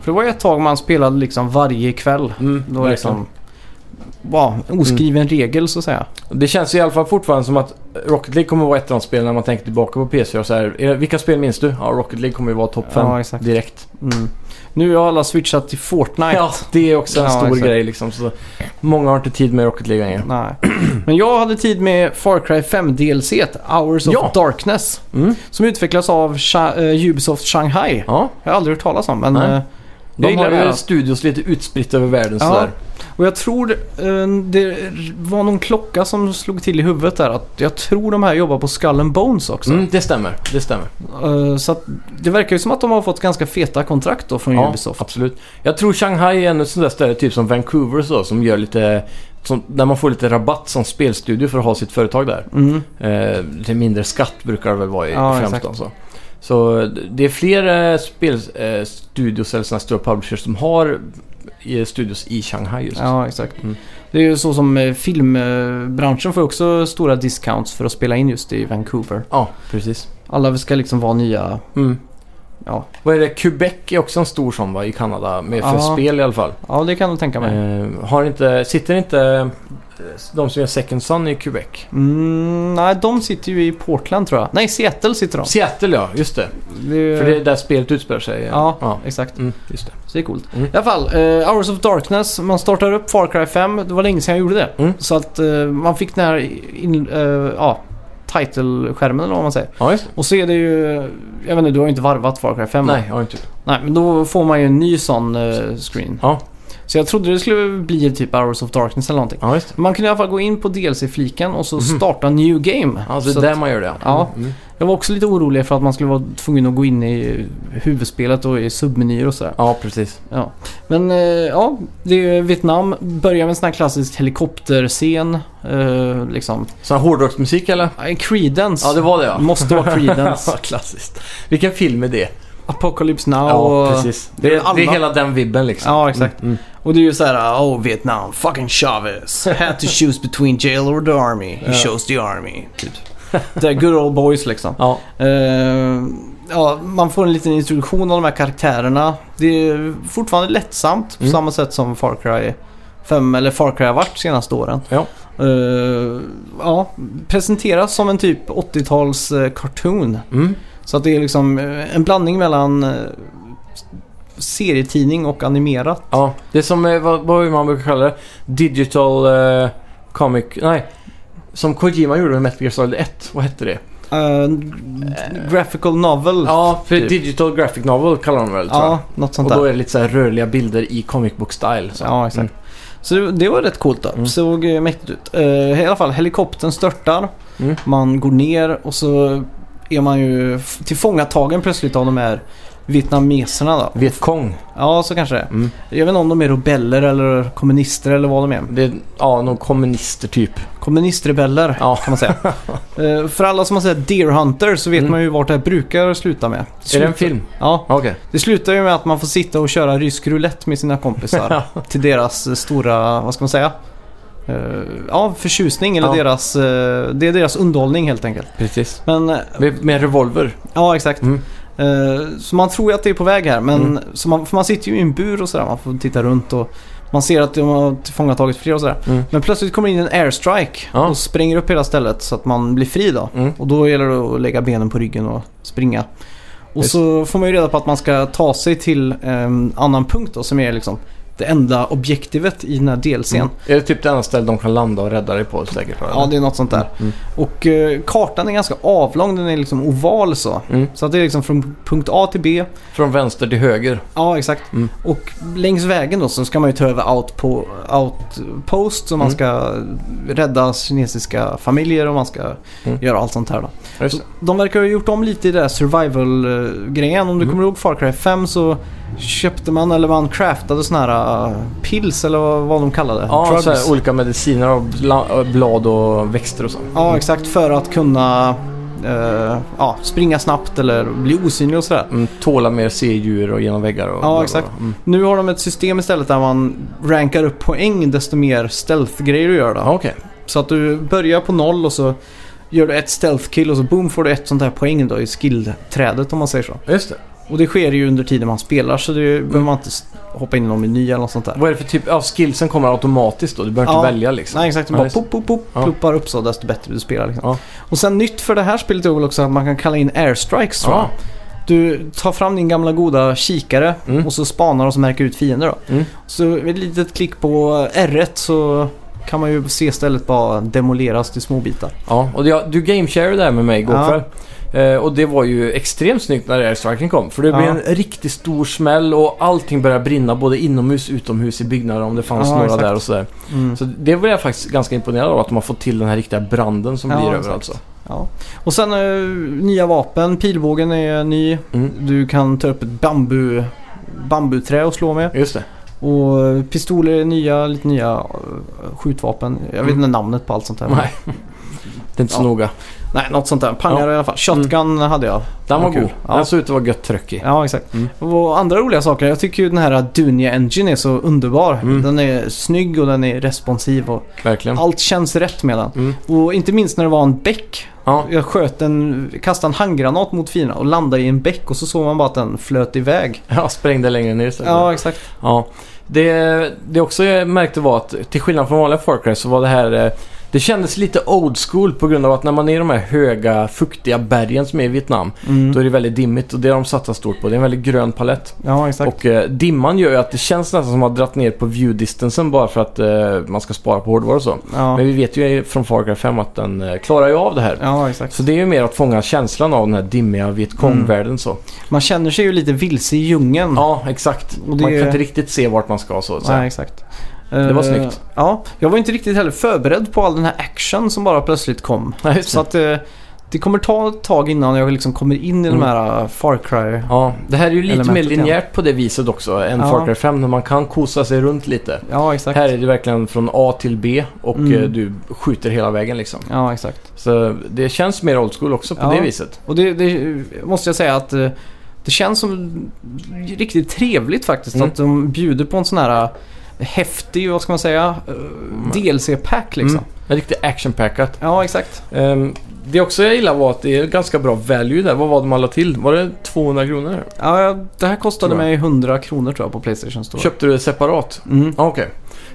Speaker 1: För det var ju ett tag man spelade liksom varje kväll. Det var
Speaker 2: Verkligen.
Speaker 1: liksom... Wow, oskriven regel så att säga.
Speaker 2: Det känns i alla fall fortfarande som att Rocket League kommer vara ett av de spel när man tänker tillbaka på PS4. och Så här, är det- vilka spel minns du? Ja, Rocket League kommer ju vara topp
Speaker 1: Ja,
Speaker 2: 5
Speaker 1: exakt.
Speaker 2: direkt.
Speaker 1: Mm. Nu har alla switchat till Fortnite.
Speaker 2: Ja, det är också en
Speaker 1: Ja,
Speaker 2: stor
Speaker 1: exakt.
Speaker 2: grej liksom. Så många har inte tid med Rocket League längre.
Speaker 1: Nej. Men jag hade tid med Far Cry 5 DLC, Hours of
Speaker 2: Ja.
Speaker 1: Darkness.
Speaker 2: Mm.
Speaker 1: Som utvecklas av Sha- eh, Ubisoft Shanghai.
Speaker 2: Ja,
Speaker 1: Jag har aldrig hört talas om men...
Speaker 2: Nej.
Speaker 1: eh, jag
Speaker 2: de
Speaker 1: gillar
Speaker 2: har
Speaker 1: det.
Speaker 2: ju
Speaker 1: här.
Speaker 2: studios lite utspritt över världen
Speaker 1: Ja.
Speaker 2: sådär.
Speaker 1: Och jag tror eh, det var någon klocka som slog till i huvudet där. Att jag tror de här jobbar på Skull and Bones också.
Speaker 2: Mm, det stämmer, det stämmer.
Speaker 1: Eh, så att det verkar ju som att de har fått ganska feta kontrakt då från Ubisoft.
Speaker 2: absolut. Jag tror Shanghai är ännu sån där ställe, typ som Vancouver och så, som gör lite... Som, där man får lite rabatt som spelstudio för att ha sitt företag där.
Speaker 1: Mm.
Speaker 2: Eh, lite mindre skatt brukar det väl vara i
Speaker 1: Ja,
Speaker 2: ja, främst
Speaker 1: exakt.
Speaker 2: då, så. så det är fler eh, spelstudios eh, studios eller såna här stora publishers som har eh, studios i Shanghai just.
Speaker 1: Ja, exakt.
Speaker 2: Mm.
Speaker 1: Det är ju så som eh, filmbranschen får ju också stora discounts för att spela in just i Vancouver.
Speaker 2: Ja, precis.
Speaker 1: Alla ska liksom vara nya.
Speaker 2: Mm.
Speaker 1: Ja,
Speaker 2: Vad är det? Quebec är också en stor sån va, i Kanada, med för
Speaker 1: Ja.
Speaker 2: spel i alla fall.
Speaker 1: ja det kan jag tänka mig.
Speaker 2: Eh, har inte, sitter inte eh, de som gör Second Sun i Quebec?
Speaker 1: Mm, nej, de sitter ju i Portland tror jag. Nej, Seattle sitter de.
Speaker 2: Seattle ja, just det.
Speaker 1: Det är-
Speaker 2: För det är där spelet utspelar sig.
Speaker 1: Ja, exakt.
Speaker 2: Mm, just det.
Speaker 1: Så det är coolt.
Speaker 2: Mm.
Speaker 1: I alla fall, eh, Hours of Darkness. Man startar upp Far Cry 5. Det var länge sedan jag gjorde det.
Speaker 2: Mm.
Speaker 1: Så att eh, man fick den här in, eh, ja, title-skärmen eller vad man säger.
Speaker 2: Ja, just det.
Speaker 1: Och så är det ju... Jag vet inte, du har ju inte varvat Far Cry 5 va?
Speaker 2: Nej, jag har inte.
Speaker 1: Nej, men då får man ju en ny sån eh, screen.
Speaker 2: Ja.
Speaker 1: Så jag trodde det skulle bli typ Hours of Darkness eller någonting.
Speaker 2: Ja, just det.
Speaker 1: Man kunde i alla fall gå in på DLC-fliken och så
Speaker 2: Mhm.
Speaker 1: starta New Game.
Speaker 2: Alltså
Speaker 1: så
Speaker 2: det är
Speaker 1: att-
Speaker 2: där man gör det
Speaker 1: Ja.
Speaker 2: Mm.
Speaker 1: jag var också lite orolig för att man skulle vara tvungen att gå in i huvudspelet och i submenyer och sådär.
Speaker 2: Ja, precis.
Speaker 1: Ja. Men eh, ja, det är Vietnam. Börjar med en sån här klassisk helikopterscen. Eh, liksom.
Speaker 2: Sån här hårdrocksmusik eller?
Speaker 1: Eh, Creedence.
Speaker 2: Ja, det var det [laughs] ja.
Speaker 1: Måste vara Creedence.
Speaker 2: Klassiskt. Vilken film är det?
Speaker 1: Apocalypse Now.
Speaker 2: ja,
Speaker 1: och-
Speaker 2: precis. Det är,
Speaker 1: alla-
Speaker 2: det är hela den vibben liksom.
Speaker 1: Ja, exakt.
Speaker 2: Mm,
Speaker 1: Och det är ju så här, oh Vietnam, fucking Chavez. Had to choose between jail or the army. He chose the army. Typ. Det är good old boys liksom.
Speaker 2: Ja,
Speaker 1: Eh, ja, man får en liten introduktion av de här karaktärerna. Det är fortfarande lättsamt på
Speaker 2: Mm.
Speaker 1: samma sätt som Far Cry 5 eller Far Cry har varit de senaste åren.
Speaker 2: Ja.
Speaker 1: Eh, ja, presenteras som en typ 80-tals eh, cartoon.
Speaker 2: Mm.
Speaker 1: Så att det är liksom eh, en blandning mellan eh, serietidning och animerat.
Speaker 2: Ja, det är som, eh, vad, vad man brukar kalla det, digital eh, comic, nej. Som Kojima gjorde med Metal Gear Solid 1, vad hette det?
Speaker 1: Eh, graphical novel.
Speaker 2: Ja, för
Speaker 1: typ.
Speaker 2: digital graphic novel kallar de väl tror jag.
Speaker 1: Ja, något sånt
Speaker 2: Och
Speaker 1: där.
Speaker 2: då är det lite så här rörliga bilder i comic book style. Så.
Speaker 1: Ja, exakt.
Speaker 2: Mm.
Speaker 1: Så det, det var rätt coolt då.
Speaker 2: Mm.
Speaker 1: Såg eh, mäktigt ut. Eh, I alla fall, helikoptern störtar.
Speaker 2: Mm.
Speaker 1: Man går ner och så är man ju f- tillfångatagen plötsligt av de här vietnameserna då.
Speaker 2: Vietkong.
Speaker 1: Ja, så kanske det är.
Speaker 2: Mm.
Speaker 1: Jag vet inte om de är rebeller eller kommunister eller vad de är.
Speaker 2: Det är, ja, någon kommunister typ.
Speaker 1: Kommunistrebeller
Speaker 2: Ja.
Speaker 1: kan man
Speaker 2: [laughs]
Speaker 1: säga. Eh, För alla som har sett Deer Hunter så vet
Speaker 2: Mm.
Speaker 1: man ju vart det här brukar sluta med.
Speaker 2: Är det en
Speaker 1: slutar-
Speaker 2: film?
Speaker 1: Ja,
Speaker 2: Okej. [laughs]
Speaker 1: det slutar ju med att man får sitta och köra rysk roulette med sina
Speaker 2: [laughs]
Speaker 1: kompisar. till deras eh, stora, vad ska man säga? Eh, ja, förtjusning eller
Speaker 2: Ja.
Speaker 1: deras, eh, det är deras underhållning helt enkelt.
Speaker 2: Precis.
Speaker 1: Men eh,
Speaker 2: Med, med revolver.
Speaker 1: ja, exakt.
Speaker 2: Mm.
Speaker 1: Eh, så man tror ju att det är på väg här, men så man, för man sitter ju i en bur och sådär. Man får titta runt och man ser att de har tillfångatagit fler och sådär.
Speaker 2: Mm.
Speaker 1: Men plötsligt kommer in en airstrike
Speaker 2: Ja.
Speaker 1: och spränger upp hela stället så att man blir fri då.
Speaker 2: Mm.
Speaker 1: Och då gäller det att lägga benen på ryggen och springa. Och
Speaker 2: Just.
Speaker 1: så får man ju reda på att man ska ta sig till en annan punkt då som är liksom det enda objektivet i den här delscen.
Speaker 2: Mm. Är det typ det enda stället de kan landa och rädda dig på säkert?
Speaker 1: Ja, det är något sånt där.
Speaker 2: Mm.
Speaker 1: Och eh, kartan är ganska avlång, den är liksom oval så.
Speaker 2: Mm.
Speaker 1: Så att det är liksom från punkt A till B.
Speaker 2: Från vänster till höger.
Speaker 1: Ja, exakt.
Speaker 2: Mm.
Speaker 1: Och längs vägen då så ska man ju ta över outpo- outpost så man
Speaker 2: Mm.
Speaker 1: ska rädda kinesiska familjer och man ska
Speaker 2: Mm.
Speaker 1: göra allt sånt här då.
Speaker 2: Just
Speaker 1: Så de verkar ha gjort om lite i det här survival-grejen. Om du
Speaker 2: Mm.
Speaker 1: kommer ihåg Far Cry 5 så köpte man eller man craftade såna här eh, pills eller vad, vad de kallade det.
Speaker 2: Ja,
Speaker 1: Drugs.
Speaker 2: så här, olika mediciner av bla- och blad och växter och så.
Speaker 1: Ja, exakt. För att kunna eh, ja, springa snabbt eller bli osynlig och sådär.
Speaker 2: Mm, tåla mer C-djur och genom väggar och
Speaker 1: Ja,
Speaker 2: bla, bla, bla.
Speaker 1: exakt.
Speaker 2: Mm.
Speaker 1: Nu har de ett system istället där man rankar upp poäng desto mer stealth-grejer du gör då.
Speaker 2: Ja, okej.
Speaker 1: Så att du börjar på noll och så gör du ett stealth-kill och så boom får du ett sånt här poäng då i skill-trädet om man säger så.
Speaker 2: Just det.
Speaker 1: Och det sker ju under tiden man spelar så det behöver man inte s- hoppa in i någon meny eller något sånt där.
Speaker 2: Vad är det för typ? Ja, skillsen kommer automatiskt då. Du behöver
Speaker 1: Ja.
Speaker 2: inte välja liksom.
Speaker 1: Nej exakt,
Speaker 2: Ja,
Speaker 1: man bara
Speaker 2: just det.
Speaker 1: pop, pop, pop,
Speaker 2: Ja.
Speaker 1: ploppar upp så desto bättre du spelar liksom.
Speaker 2: Ja.
Speaker 1: Och sen nytt för det här spelet är väl också att man kan kalla in airstrikes tror jag.
Speaker 2: Ja,
Speaker 1: Du tar fram din gamla goda kikare
Speaker 2: Mm.
Speaker 1: och så spanar och så märker ut fiender då.
Speaker 2: Mm.
Speaker 1: Så med ett litet klick på R1 så kan man ju se stället bara demoleras till små bitar.
Speaker 2: ja. och jag, du gamesharade det här med mig igår
Speaker 1: Ja.
Speaker 2: kväll. Eh, och det var ju extremt snyggt när airstriken kom. För det
Speaker 1: Ja.
Speaker 2: blev en riktigt stor smäll och allting började brinna både inomhus utomhus i byggnader om det fanns
Speaker 1: Ja,
Speaker 2: några
Speaker 1: exakt.
Speaker 2: där och sådär.
Speaker 1: Mm.
Speaker 2: Så det var jag faktiskt ganska imponerad av att de har fått till den här riktiga branden som
Speaker 1: Ja,
Speaker 2: blir
Speaker 1: exakt.
Speaker 2: överallt. så.
Speaker 1: Ja. Och sen eh, nya vapen. Pilbågen är ny.
Speaker 2: Mm.
Speaker 1: Du kan ta upp ett bambu, bambuträ och slå med.
Speaker 2: Just det.
Speaker 1: Och eh, pistoler är nya, lite nya eh, skjutvapen. Jag vet inte namnet på allt sånt där.
Speaker 2: Mm. Nej. Det är inte så
Speaker 1: Ja.
Speaker 2: noga.
Speaker 1: Nej, något sånt där. Pangare
Speaker 2: Ja.
Speaker 1: i alla fall. Shotgun hade jag.
Speaker 2: Den var
Speaker 1: Vad kul.
Speaker 2: god.
Speaker 1: Ja.
Speaker 2: Den såg ut att vara gött tröck i.
Speaker 1: Ja, exakt.
Speaker 2: Mm.
Speaker 1: Och andra roliga saker. Jag tycker ju den här Dunia Engine är så underbar.
Speaker 2: Mm.
Speaker 1: Den är snygg och den är responsiv och
Speaker 2: Verkligen.
Speaker 1: allt känns rätt med den.
Speaker 2: Mm.
Speaker 1: Och inte minst när det var en bäck.
Speaker 2: Ja.
Speaker 1: Jag sköt en, kastade en handgranat mot fina och landade i en bäck och så såg man bara att den flöt iväg.
Speaker 2: ja, sprängde längre ner istället.
Speaker 1: Ja, exakt.
Speaker 2: Ja. Det, det också jag märkte var att till skillnad från vanliga Far Cry så var det här... eh, Det kändes lite old school på grund av att när man är i de här höga fuktiga bergen som är i Vietnam då
Speaker 1: Mm.
Speaker 2: är det väldigt dimmigt och det har de satsat stort på. Det är en väldigt grön palett.
Speaker 1: Ja, exakt.
Speaker 2: Och eh, dimman gör ju att det känns nästan som att man har dratt ner på view distansen bara för att eh, man ska spara på hårdvara och så.
Speaker 1: Ja,
Speaker 2: Men vi vet ju från Far Cry 5 att den eh, klarar ju av det här.
Speaker 1: ja exakt.
Speaker 2: Så det är ju mer att fånga känslan av den här dimmiga
Speaker 1: Mm.
Speaker 2: Vietkong-världen så.
Speaker 1: Man känner sig ju lite vilse i djungeln.
Speaker 2: Ja, exakt.
Speaker 1: Och det-
Speaker 2: Man kan inte riktigt se vart man ska så. så.
Speaker 1: Nej, exakt. Det
Speaker 2: var snyggt.
Speaker 1: Ja, jag var inte riktigt heller förberedd på all den här action som bara plötsligt kom.
Speaker 2: Nej, [laughs] just
Speaker 1: Så att eh, det kommer ta ett tag innan jag liksom kommer in i de
Speaker 2: Mm.
Speaker 1: här eh, Far Cry.
Speaker 2: Ja, det här är ju lite mer
Speaker 1: Elementet, ja.
Speaker 2: linjärt på det viset också än
Speaker 1: Ja.
Speaker 2: Far Cry 5 när man kan kosa sig runt lite.
Speaker 1: Ja, exakt.
Speaker 2: Här är det verkligen från A till B och
Speaker 1: Mm.
Speaker 2: eh, du skjuter hela vägen liksom.
Speaker 1: Ja, exakt.
Speaker 2: Så det känns mer old school också på
Speaker 1: Ja.
Speaker 2: det viset.
Speaker 1: Och det, det måste jag säga att eh, det känns som riktigt trevligt faktiskt
Speaker 2: Mm.
Speaker 1: att de bjuder på en sån här eh, häftig, vad ska man säga, eh, DLC-pack liksom.
Speaker 2: Mm. Det är Riktigt actionpackat.
Speaker 1: Ja, exakt.
Speaker 2: Ehm, det också jag gillar var att det är ganska bra value där. Vad var det man la till? Var det 200 kronor?
Speaker 1: Ja, det här kostade
Speaker 2: Tror jag.
Speaker 1: mig 100 kronor tror jag på Playstation Store.
Speaker 2: Köpte du det separat?
Speaker 1: Mm.
Speaker 2: Ah, Okej.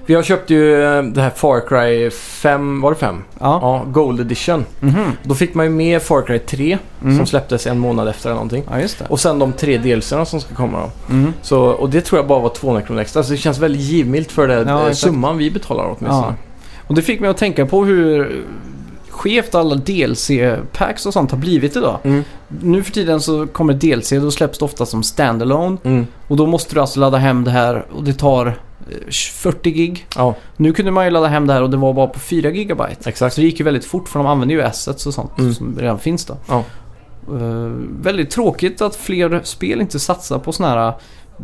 Speaker 2: För jag köpte ju eh, det här Far Cry 5, var det 5?
Speaker 1: Ja.
Speaker 2: Ja, Gold Edition.
Speaker 1: Mhm.
Speaker 2: Då fick man ju med Far Cry 3
Speaker 1: Mm.
Speaker 2: som släpptes en månad efter eller någonting.
Speaker 1: Ja, just det.
Speaker 2: Och sen de tre delserna som ska komma då.
Speaker 1: Mm.
Speaker 2: Så, och det tror jag bara var 200 kronor extra. Så det känns väldigt givmilt för det,
Speaker 1: Ja,
Speaker 2: eh,
Speaker 1: exakt.
Speaker 2: summan vi betalar åtminstone.
Speaker 1: Ja. Och det fick mig att tänka på hur skevt alla DLC-packs och sånt har blivit idag.
Speaker 2: Mm.
Speaker 1: Nu för tiden så kommer DLC, då släpps det ofta som standalone.
Speaker 2: Mm.
Speaker 1: Och då måste du alltså ladda hem det här och det tar eh, 40 gig.
Speaker 2: ja,
Speaker 1: Nu kunde man ju ladda hem det här och det var bara på 4 gigabyte.
Speaker 2: exakt.
Speaker 1: Så det gick ju väldigt fort för de använde ju assets och sånt
Speaker 2: Mm.
Speaker 1: som redan finns då.
Speaker 2: Ja.
Speaker 1: Eh, väldigt tråkigt att fler spel inte satsar på såna här eh,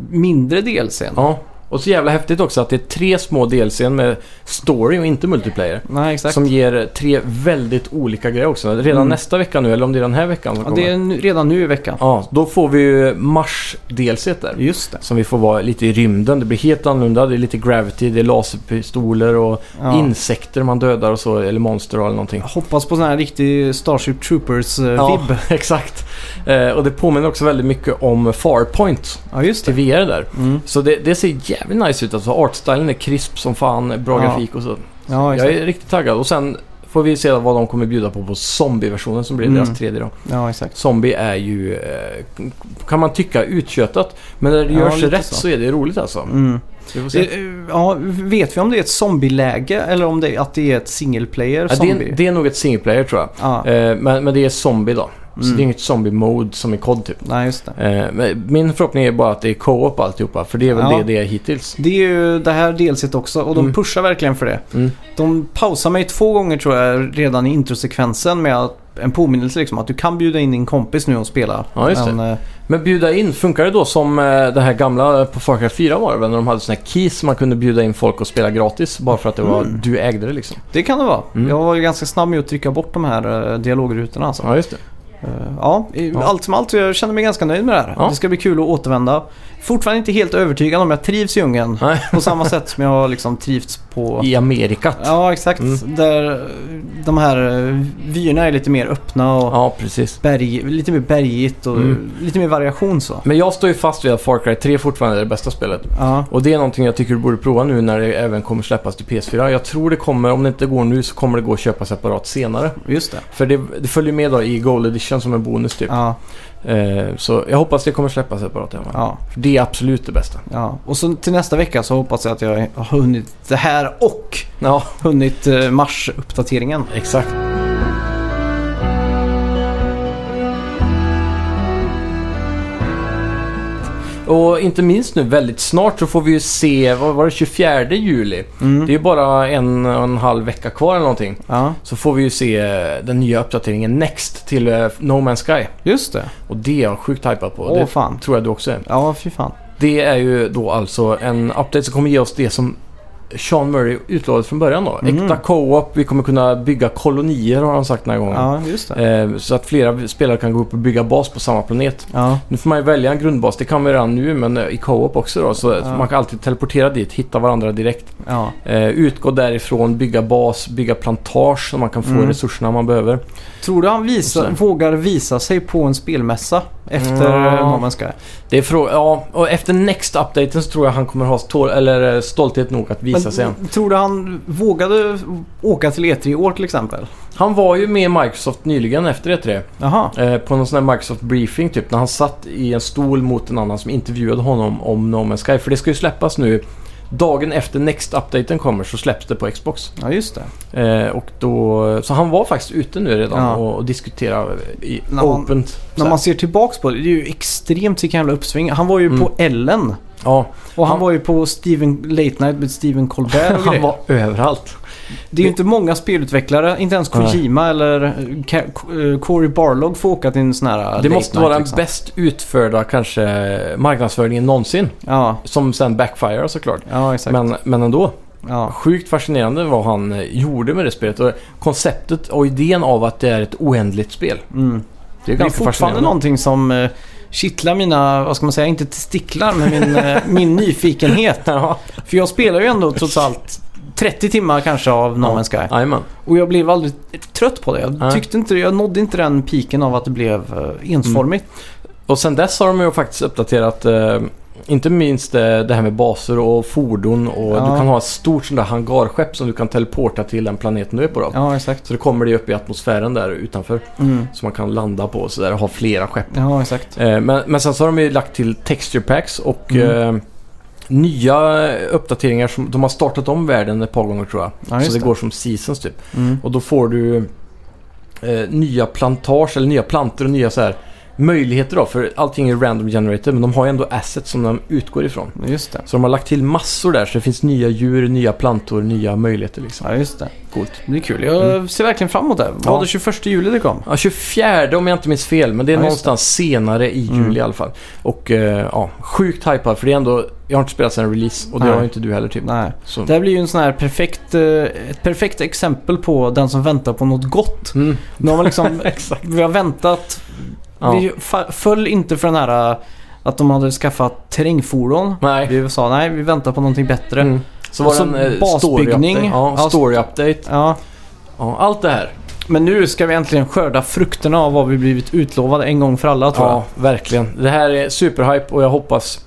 Speaker 1: mindre DLC. n.
Speaker 2: Ja. Och så jävla häftigt också att det är tre små delsen med story och inte multiplayer.
Speaker 1: Nej, exakt.
Speaker 2: Som ger tre väldigt olika grejer också. Redan
Speaker 1: Mm.
Speaker 2: nästa vecka nu, eller om det är den här veckan som
Speaker 1: ja,
Speaker 2: kommer.
Speaker 1: det är nu, redan nu i veckan.
Speaker 2: Ja, då får vi ju mars-delset där.
Speaker 1: Just det.
Speaker 2: Som vi får vara lite i rymden. Det blir helt annorlunda. Det är lite gravity, det är laserpistoler och
Speaker 1: Ja.
Speaker 2: insekter man dödar och så. Eller monster eller någonting.
Speaker 1: Jag hoppas på sån här riktig Starship eh, Troopers-vibb.
Speaker 2: Ja,
Speaker 1: Ja.
Speaker 2: [laughs] exakt. Eh, och det påminner också väldigt mycket om Farpoint
Speaker 1: just
Speaker 2: till
Speaker 1: det.
Speaker 2: VR där.
Speaker 1: Mm.
Speaker 2: Så det, det ser jävligt nice ut. Alltså artstylen är krisp som fan, bra
Speaker 1: Ja.
Speaker 2: grafik och så.
Speaker 1: Ja,
Speaker 2: Jag
Speaker 1: exakt.
Speaker 2: är riktigt taggad. Och sen får vi se vad de kommer bjuda på på zombie-versionen som blir
Speaker 1: Mm.
Speaker 2: deras 3D då.
Speaker 1: Ja, exakt.
Speaker 2: Zombie är ju, eh, kan man tycka, utkötat. Men när det
Speaker 1: Ja,
Speaker 2: görs
Speaker 1: lite
Speaker 2: rätt
Speaker 1: så.
Speaker 2: så. är det roligt alltså.
Speaker 1: Mm.
Speaker 2: Vi får se.
Speaker 1: Eh, eh, Ja, vet vi om det är ett zombieläge eller om det, att det är ett single player
Speaker 2: Ja, det,
Speaker 1: zombie?
Speaker 2: är, det är nog ett single player tror jag.
Speaker 1: Ja,
Speaker 2: Eh, men, men det är zombie då. Så
Speaker 1: Mm.
Speaker 2: det är inget zombie-mode som i COD typ.
Speaker 1: nej just det.
Speaker 2: Eh, men min förhoppning är bara att det är co-op alltihopa. För det är väl
Speaker 1: Ja.
Speaker 2: det det är hittills.
Speaker 1: Det är ju det här delset också och de
Speaker 2: Mm.
Speaker 1: pushar verkligen för det.
Speaker 2: Mm.
Speaker 1: De pausar mig två gånger tror jag redan i introsekvensen med att, en påminnelse liksom att du kan bjuda in din kompis nu och spela.
Speaker 2: Ja, just det.
Speaker 1: Men, eh,
Speaker 2: Men bjuda in, funkar det då som eh, det här gamla på Far Cry 4 var det väl? När de hade såna här keys man kunde bjuda in folk och spela gratis. Bara för att det var
Speaker 1: Mm.
Speaker 2: du ägde det liksom.
Speaker 1: det kan det vara.
Speaker 2: Mm.
Speaker 1: Jag var ju ganska snabb med att trycka bort de här eh, dialogrutorna alltså.
Speaker 2: Ja, just det.
Speaker 1: Eh, Ja, i-
Speaker 2: Ja.
Speaker 1: allt som allt. Jag känner mig ganska nöjd med det här.
Speaker 2: Ja.
Speaker 1: Det ska bli kul att återvända. Fortfarande inte helt övertygad om jag trivs i djungeln.
Speaker 2: Nej.
Speaker 1: På samma sätt som jag har liksom trivts på...
Speaker 2: I Amerika. Ja,
Speaker 1: Ja, exakt.
Speaker 2: Mm.
Speaker 1: Där eh, de här eh, vyerna är lite mer öppna och
Speaker 2: precis.
Speaker 1: berg, lite mer bergigt och
Speaker 2: Mm.
Speaker 1: lite mer variation så.
Speaker 2: Men jag står ju fast vid att Far Cry 3 fortfarande är det bästa spelet.
Speaker 1: Ja,
Speaker 2: Och det är någonting jag tycker du borde prova nu när det även kommer släppas till PS4. Jag tror det kommer, om det inte går nu så kommer det gå att köpa separat senare.
Speaker 1: just det.
Speaker 2: För det, det följer med då i Gold Edition som en bonus typ.
Speaker 1: Ja,
Speaker 2: Eh, så jag hoppas det kommer släppas separat. Ja.
Speaker 1: ja,
Speaker 2: För det är absolut det bästa.
Speaker 1: ja. Och så till nästa vecka så hoppas jag att jag har hunnit det här och
Speaker 2: Ja,
Speaker 1: hunnit eh, Mars-uppdateringen.
Speaker 2: exakt. Och inte minst nu väldigt snart så får vi ju se, vad var det, 24 juli?
Speaker 1: Mm.
Speaker 2: Det är ju bara en och en halv vecka kvar eller någonting.
Speaker 1: Ja,
Speaker 2: Så får vi ju se eh, den nya uppdateringen Next till eh, No Man's Sky.
Speaker 1: just det.
Speaker 2: Och det är jag sjukt hypad på.
Speaker 1: Åh
Speaker 2: det
Speaker 1: fan.
Speaker 2: tror jag du också är.
Speaker 1: Ja, fy fan.
Speaker 2: Det är ju då alltså en update som kommer ge oss det som Sean Murray utlovade från början då.
Speaker 1: Mm.
Speaker 2: Äkta co-op, vi kommer kunna bygga kolonier har han sagt den här gången.
Speaker 1: Ja, just det.
Speaker 2: Eh, Så att flera spelare kan gå upp och bygga bas på samma planet.
Speaker 1: Ja,
Speaker 2: Nu får man ju välja en grundbas, det kan man ju redan nu men eh, i co-op också då. Så
Speaker 1: Ja.
Speaker 2: man kan alltid teleportera dit, hitta varandra direkt.
Speaker 1: ja.
Speaker 2: Eh, Utgå därifrån, bygga bas, bygga plantage så man kan få
Speaker 1: Mm.
Speaker 2: resurserna man behöver.
Speaker 1: Tror du han visa,
Speaker 2: Och
Speaker 1: vågar visa sig på en spelmässa efter
Speaker 2: Ja.
Speaker 1: ja. man ska?
Speaker 2: Det är frå- ja, och efter next updaten så tror jag han kommer ha stål- eller eh, stolthet nog att visa sig.
Speaker 1: tror du han vågade åka till E3 i år till exempel?
Speaker 2: Han var ju med i Microsoft nyligen efter E3.
Speaker 1: Jaha.
Speaker 2: Eh, på någon sån här Microsoft briefing typ. När han satt i en stol mot en annan som intervjuade honom om No Man's Sky. För det ska ju släppas nu. Dagen efter next updaten kommer så släpps det på Xbox.
Speaker 1: Ja, just det.
Speaker 2: Eh, och då, så han var faktiskt ute nu redan
Speaker 1: Ja.
Speaker 2: och, och diskuterade i
Speaker 1: När man-
Speaker 2: opent. så
Speaker 1: När
Speaker 2: här.
Speaker 1: man ser tillbaks på det, det är ju extremt vilken jävla uppsving. Han var ju
Speaker 2: Mm.
Speaker 1: på Ellen.
Speaker 2: ja,
Speaker 1: Och han
Speaker 2: Ja.
Speaker 1: var ju på Steven, Late Night med Steven Colbert och
Speaker 2: [laughs] han
Speaker 1: grejer.
Speaker 2: var överallt.
Speaker 1: Det är ju inte många spelutvecklare, inte ens
Speaker 2: Nej.
Speaker 1: Kojima eller eh, Ka- K- eh, Corey Barlog får åka till en sån här
Speaker 2: Det
Speaker 1: late
Speaker 2: måste
Speaker 1: night,
Speaker 2: vara den
Speaker 1: liksom.
Speaker 2: bäst utförda kanske marknadsföringen någonsin.
Speaker 1: Ja,
Speaker 2: Som sen backfirar såklart.
Speaker 1: ja exakt.
Speaker 2: Men, men ändå.
Speaker 1: ja.
Speaker 2: Sjukt fascinerande vad han eh, gjorde med det spelet. Och konceptet och idén av att det är ett oändligt spel.
Speaker 1: Mm.
Speaker 2: Det är
Speaker 1: Det är
Speaker 2: ganska
Speaker 1: fortfarande
Speaker 2: fascinerande.
Speaker 1: någonting som eh, kittlar mina, vad ska man säga, inte testiklar men min, eh, [laughs] min nyfikenhet.
Speaker 2: Ja,
Speaker 1: För jag spelar ju ändå trots allt 30 timmar kanske av No
Speaker 2: [laughs] Ja.
Speaker 1: Man's Sky.
Speaker 2: jajamän.
Speaker 1: Och jag blev aldrig trött på det. Jag
Speaker 2: Nej.
Speaker 1: tyckte inte, jag nådde inte den piken av att det blev eh, ensformigt.
Speaker 2: Och sen dess har de ju faktiskt uppdaterat eh, Inte minst eh, det här med baser och fordon och
Speaker 1: Ja.
Speaker 2: du kan ha ett stort sånt där hangarskepp som du kan teleporta till den planeten du är på då.
Speaker 1: Ja, exakt.
Speaker 2: Så det kommer det upp i atmosfären där utanför.
Speaker 1: Mm.
Speaker 2: Som man kan landa på och sådär och ha flera skepp.
Speaker 1: Ja, exakt.
Speaker 2: Eh, Men, men sen så har de ju lagt till texture packs och
Speaker 1: Mm.
Speaker 2: eh, nya uppdateringar. Som, de har startat om världen ett par gånger tror jag.
Speaker 1: Ja,
Speaker 2: så
Speaker 1: just
Speaker 2: det,
Speaker 1: det.
Speaker 2: går som seasons typ.
Speaker 1: Mm.
Speaker 2: Och då får du eh, nya plantage eller nya planter och nya så här möjligheter då. För allting är random generated men de har ju ändå assets som de utgår ifrån.
Speaker 1: Just det.
Speaker 2: Så de har lagt till massor där så det finns nya djur, nya plantor, nya möjligheter liksom.
Speaker 1: Ja, just det.
Speaker 2: Coolt.
Speaker 1: Det blir kul. Jag ser verkligen fram emot det. Var
Speaker 2: Ja.
Speaker 1: det 21 juli det kom?
Speaker 2: Ja, 24 om jag inte minns fel, men det
Speaker 1: Ja,
Speaker 2: är
Speaker 1: just
Speaker 2: någonstans senare i juli
Speaker 1: Mm.
Speaker 2: i alla fall. Och eh, ja, sjukt hypad för det är ändå, jag har inte spelat sedan release och det
Speaker 1: Nej.
Speaker 2: har ju inte du heller typ.
Speaker 1: Nej.
Speaker 2: Så.
Speaker 1: Det här blir ju en sån här perfekt, eh, ett perfekt exempel på den som väntar på något gott.
Speaker 2: Mm.
Speaker 1: Nu har man liksom,
Speaker 2: [laughs] Exakt.
Speaker 1: vi har väntat.
Speaker 2: Ja.
Speaker 1: Vi fa- föll inte för den här eh, att de hade skaffat terrängfordon.
Speaker 2: Nej.
Speaker 1: Vi sa nej, vi väntar på någonting bättre.
Speaker 2: Mm. Så
Speaker 1: Och
Speaker 2: var
Speaker 1: så
Speaker 2: det en eh,
Speaker 1: Alltså, basbyggning. Alltså-
Speaker 2: story update. Ja,
Speaker 1: Ja,
Speaker 2: story update.
Speaker 1: Ja,
Speaker 2: Ja, allt det här.
Speaker 1: men nu ska vi äntligen skörda frukterna av vad vi blivit utlovade en gång för alla tror jag.
Speaker 2: Ja, verkligen. Det här är superhype och jag hoppas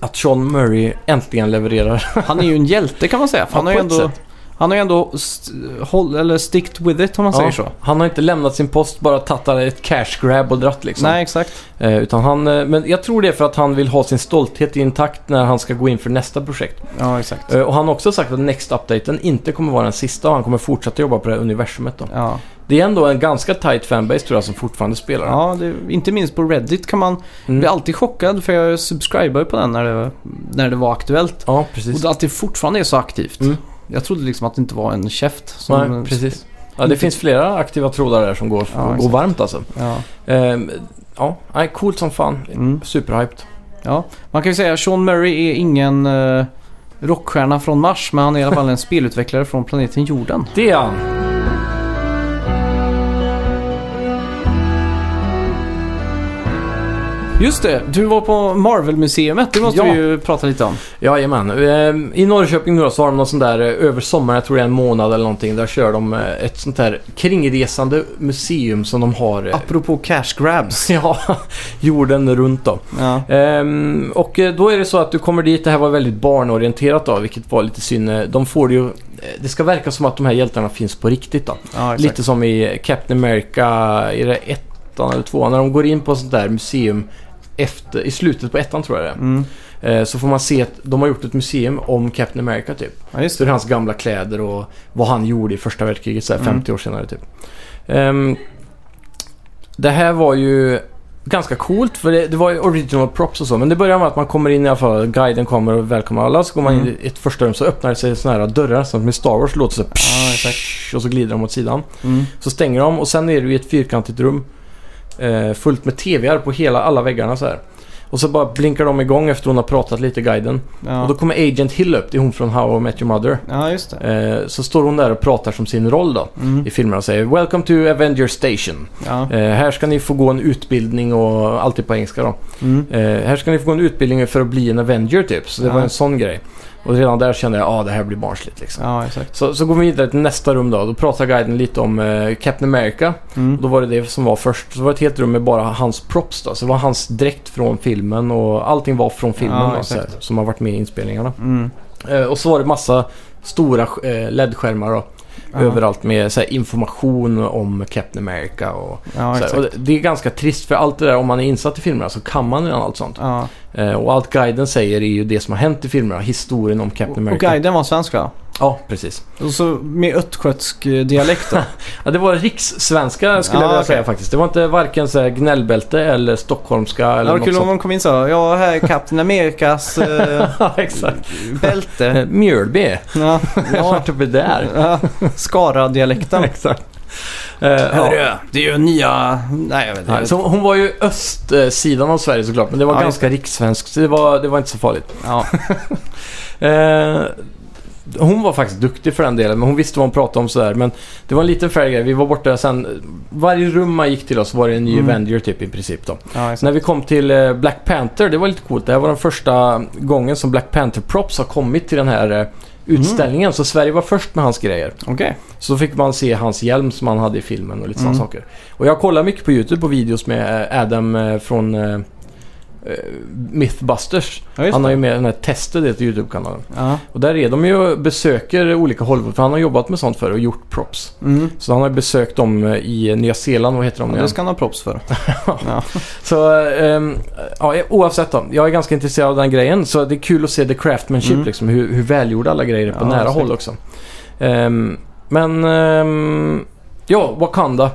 Speaker 2: att Sean Murray äntligen levererar.
Speaker 1: Han är ju en hjälte kan man säga. För
Speaker 2: [laughs] Ja,
Speaker 1: han, har ju
Speaker 2: på ett
Speaker 1: ändå, han har ju ändå st- håll, eller sticked with it om man
Speaker 2: Ja.
Speaker 1: säger så.
Speaker 2: Han har inte lämnat sin post, bara tagit ett cash grab och dratt liksom.
Speaker 1: Nej, exakt.
Speaker 2: Eh, utan han, eh, men jag tror det är för att han vill ha sin stolthet intakt när han ska gå in för nästa projekt.
Speaker 1: Ja, exakt.
Speaker 2: Eh, och han har också sagt att next updaten inte kommer vara den sista och han kommer fortsätta jobba på det här universumet då.
Speaker 1: Ja,
Speaker 2: Det är ändå en ganska tight fanbase tror jag som fortfarande spelar.
Speaker 1: ja det, inte minst på Reddit kan man
Speaker 2: Mm.
Speaker 1: bli alltid chockad för jag subscribar ju på den när det, när det var aktuellt.
Speaker 2: ja
Speaker 1: Och
Speaker 2: precis.
Speaker 1: att det fortfarande är så aktivt.
Speaker 2: Mm.
Speaker 1: Jag trodde liksom att det inte var en käft. Som,
Speaker 2: Nej, precis. Ja, det finns flera aktiva trådar där som går,
Speaker 1: Ja,
Speaker 2: går
Speaker 1: exakt.
Speaker 2: varmt alltså.
Speaker 1: Ja.
Speaker 2: Eh, ja, nej, coolt som fan.
Speaker 1: Mm.
Speaker 2: Superhyped.
Speaker 1: Ja, man kan ju säga att Sean Murray är ingen eh, rockstjärna från Mars, men han är i alla fall en [laughs] spelutvecklare från planeten jorden.
Speaker 2: Det är han.
Speaker 1: Just det, du var på Marvel-museet, det måste
Speaker 2: Ja.
Speaker 1: vi ju prata lite om.
Speaker 2: Jajamän. Eh, I Norrköping nu då, så har de någon sån där eh, över sommaren, jag tror det är en månad eller någonting, där kör de eh, ett sånt där kringresande museum som de har eh,
Speaker 1: Apropå cash grabs.
Speaker 2: [laughs] ja, jorden runt då.
Speaker 1: Ja,
Speaker 2: Ehm, och eh, då är det så att du kommer dit, det här var väldigt barnorienterat då, vilket var lite synd. Eh, De får det ju, eh, det ska verka som att de här hjältarna finns på riktigt då.
Speaker 1: ja exakt.
Speaker 2: Lite som i Captain America, är det ettan eller tvåan? När de går in på sånt där museum efter, i slutet på ettan tror jag det är.
Speaker 1: Mm.
Speaker 2: Eh, Så får man se att de har gjort ett museum om Captain America typ.
Speaker 1: Ja, just
Speaker 2: Så
Speaker 1: det.
Speaker 2: det är hans gamla kläder och vad han gjorde i första världskriget så här,
Speaker 1: Mm.
Speaker 2: 50 år senare typ. Ehm, det här var ju ganska coolt för det, det var ju original props och så. Men det börjar med att man kommer in i alla fall, guiden kommer och välkomnar alla. Så går man in
Speaker 1: Mm.
Speaker 2: i ett första rum så öppnar det sig såna här dörrar som med Star Wars låter så här,
Speaker 1: Ja, exakt.
Speaker 2: Och så glider de åt sidan.
Speaker 1: Mm.
Speaker 2: Så stänger de och sen är du i ett fyrkantigt rum. Eh, fullt med TVR på hela, alla väggarna så här. Och så bara blinkar de igång efter hon har pratat lite, guiden. Och
Speaker 1: Ja.
Speaker 2: då kommer Agent Hill upp, det är hon från How I Met Your Mother.
Speaker 1: ja, just det.
Speaker 2: Eh, så står hon där och pratar som sin roll då
Speaker 1: Mm.
Speaker 2: i filmerna och säger “Welcome to Avengers Station”.
Speaker 1: Ja.
Speaker 2: Eh, här ska ni få gå en utbildning och allt är på engelska då.
Speaker 1: Mm.
Speaker 2: Eh, här ska ni få gå en utbildning för att bli en Avenger typ. Så det
Speaker 1: Ja.
Speaker 2: var en sån grej. Och redan där kände jag att ah, det här blir barnsligt liksom.
Speaker 1: ja, exakt.
Speaker 2: Så, så går vi vidare till nästa rum då. Då pratar guiden lite om eh, Captain America. Och
Speaker 1: Mm.
Speaker 2: då var det det som var först. Så var det ett helt rum med bara hans props då. Så det var hans dräkt från filmen och allting var från filmen
Speaker 1: Ja,
Speaker 2: då, så
Speaker 1: exakt.
Speaker 2: här, som har varit med i inspelningarna.
Speaker 1: Mm.
Speaker 2: Eh, och så var det massa stora eh, LED-skärmar då.
Speaker 1: Ja.
Speaker 2: Överallt med så här, information om Captain America och,
Speaker 1: Ja,
Speaker 2: så här. och
Speaker 1: exakt.
Speaker 2: det- Det är ganska trist för allt det där om man är insatt i filmerna så kan man redan allt sånt.
Speaker 1: Ja.
Speaker 2: Eh, och allt guiden säger är ju det som har hänt i filmerna. Historien om
Speaker 1: Och-
Speaker 2: Captain
Speaker 1: Och
Speaker 2: America.
Speaker 1: guiden var svensk va?
Speaker 2: Ja, precis.
Speaker 1: Och så med östgötsk eh, dialekt då?
Speaker 2: Ja, det var rikssvenska skulle
Speaker 1: Ja,
Speaker 2: jag vilja
Speaker 1: okej.
Speaker 2: säga faktiskt. Det var inte varken så här gnällbälte eller stockholmska
Speaker 1: Det
Speaker 2: eller
Speaker 1: var
Speaker 2: något
Speaker 1: kul om
Speaker 2: sånt.
Speaker 1: de kom in så. här, Ja, här är Captain Americas
Speaker 2: [laughs]
Speaker 1: eh,
Speaker 2: Ja, exakt.
Speaker 1: bälte.
Speaker 2: Eh, Mjölby.
Speaker 1: Ja,
Speaker 2: [laughs] Jag har
Speaker 1: ja.
Speaker 2: varit uppe där.
Speaker 1: Ja, Skara-dialekten.
Speaker 2: [laughs] exakt. Eh, ja.
Speaker 1: det är ju nya... Nej, jag vet
Speaker 2: Nej, så hon var ju östsidan av Sverige såklart, men det var
Speaker 1: Ja,
Speaker 2: ganska rikssvenskt så det var, det var inte så farligt.
Speaker 1: Ja,
Speaker 2: Eh, hon var faktiskt duktig för den delen, men hon visste vad hon pratade om sådär. Men det var en liten fair grej. Vi var borta sen. Varje rum man gick till oss var det en ny
Speaker 1: Mm.
Speaker 2: Avenger typ i princip då.
Speaker 1: ja
Speaker 2: Så när vi kom till eh, Black Panther, det var lite coolt. Det här var den första gången som Black Panther Props har kommit till den här eh, utställningen. Så Sverige var först med hans grejer.
Speaker 1: Okej.
Speaker 2: Så fick man se hans hjälm som han hade i filmen och lite sådana
Speaker 1: Mm.
Speaker 2: saker. Och jag kollar mycket på YouTube på videos med eh, Adam eh, från... eh, eh, Mythbusters.
Speaker 1: Ja, just
Speaker 2: han
Speaker 1: det.
Speaker 2: har ju med den här testet i YouTube-kanalen.
Speaker 1: Ja.
Speaker 2: Och där är de ju besöker olika Hollywood, för han har jobbat med sånt förr och gjort props.
Speaker 1: Mm.
Speaker 2: Så han har besökt dem eh, i Nya Zeeland, vad heter de
Speaker 1: Ja,
Speaker 2: nu
Speaker 1: det
Speaker 2: igen?
Speaker 1: ska han ha props för. ja.
Speaker 2: Så ehm, ja, oavsett då. Jag är ganska intresserad av den grejen. Så det är kul att se the craftsmanship
Speaker 1: Mm.
Speaker 2: liksom. Hur, hur välgjorda alla grejer är på
Speaker 1: Ja,
Speaker 2: nära
Speaker 1: snyggt.
Speaker 2: håll också. Ehm, men ehm, ja, Wakanda.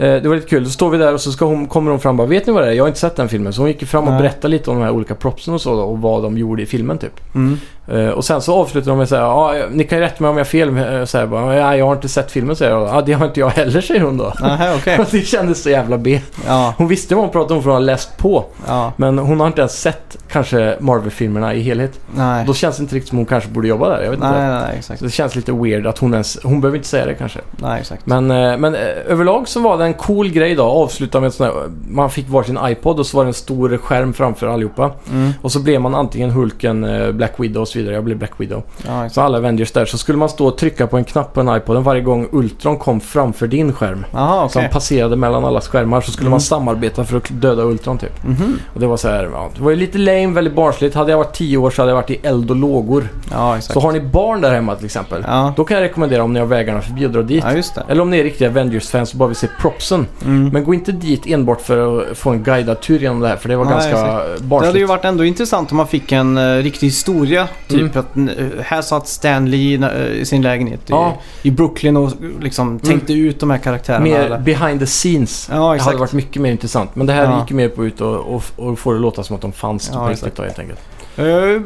Speaker 2: Eh, det var lite kul. Så står vi där och så ska hon, kommer hon fram och bara Vet ni vad det är? Jag har inte sett den filmen. Så hon gick ju fram och
Speaker 1: Nej.
Speaker 2: berättade lite om de här olika propsen och så då, och vad de gjorde i filmen typ.
Speaker 1: Mm.
Speaker 2: Eh, och sen så avslutar de med såhär, ja ni kan ju rätta mig om jag har fel. Eh, Så här, bara, ja, jag har inte sett filmen säger jag. Ja, det har inte jag heller säger hon då. [laughs]
Speaker 1: Nähä, okej.
Speaker 2: det kändes så jävla B.
Speaker 1: Ja,
Speaker 2: Hon visste vad hon pratade om för hon har läst på.
Speaker 1: ja,
Speaker 2: Men hon har inte ens sett kanske Marvel-filmerna i helhet.
Speaker 1: nej.
Speaker 2: Då känns det inte riktigt som hon kanske borde jobba där. Jag vet
Speaker 1: Nej,
Speaker 2: inte.
Speaker 1: nej, nej, exakt.
Speaker 2: Så det känns lite weird att hon ens... Hon behöver inte säga det kanske.
Speaker 1: Nej, exakt.
Speaker 2: Men, eh, men eh, överlag så var det en cool grej då. Avsluta med en sån här... Man fick varsin iPod och så var det en stor skärm framför allihopa.
Speaker 1: Mm.
Speaker 2: Och så blev man antingen Hulken, eh, Black Widow och så vidare. Jag blev Black Widow.
Speaker 1: Ja,
Speaker 2: Så
Speaker 1: exakt.
Speaker 2: alla Avengers där. Så skulle man stå och trycka på en knapp på en iPod varje gång Ultron kom framför din skärm.
Speaker 1: Jaha,
Speaker 2: Så
Speaker 1: okej.
Speaker 2: han passerade mellan alla skärmar så skulle
Speaker 1: Mm.
Speaker 2: man samarbeta för att döda Ultron typ.
Speaker 1: Mhm.
Speaker 2: Och det var så här, ja, det var ju lite lame, väldigt barnsligt. Hade jag varit 10 år så hade jag varit i eld och lågor.
Speaker 1: Ja, exakt.
Speaker 2: Så har ni barn där hemma till exempel.
Speaker 1: Ja,
Speaker 2: Då kan jag rekommendera om ni har vägarna förbi att dra dit.
Speaker 1: ja just det.
Speaker 2: Eller om ni är riktiga Avengers-fans och bara vill se propsen.
Speaker 1: Mm.
Speaker 2: Men gå inte dit enbart för att få en guidad tur genom det här för det var
Speaker 1: Nej,
Speaker 2: ganska
Speaker 1: exakt. Det
Speaker 2: barnsligt.
Speaker 1: hade ju varit ändå intressant om man fick en eh, riktig historia. Typ
Speaker 2: Mm.
Speaker 1: att eh, här satt Stan Lee eh, i sin lägenhet i,
Speaker 2: Ja. Mm.
Speaker 1: i Brooklyn och liksom tänkte ut de här karaktärerna.
Speaker 2: Mer
Speaker 1: eller-
Speaker 2: behind the scenes.
Speaker 1: ja,
Speaker 2: Det
Speaker 1: exakt.
Speaker 2: hade varit mycket mer intressant. Men det här
Speaker 1: Ja.
Speaker 2: gick ju mer på ut och, och, och få det låta som att de fanns
Speaker 1: Ja,
Speaker 2: på
Speaker 1: exakt.
Speaker 2: riktigt då, helt enkelt.
Speaker 1: Jag har ju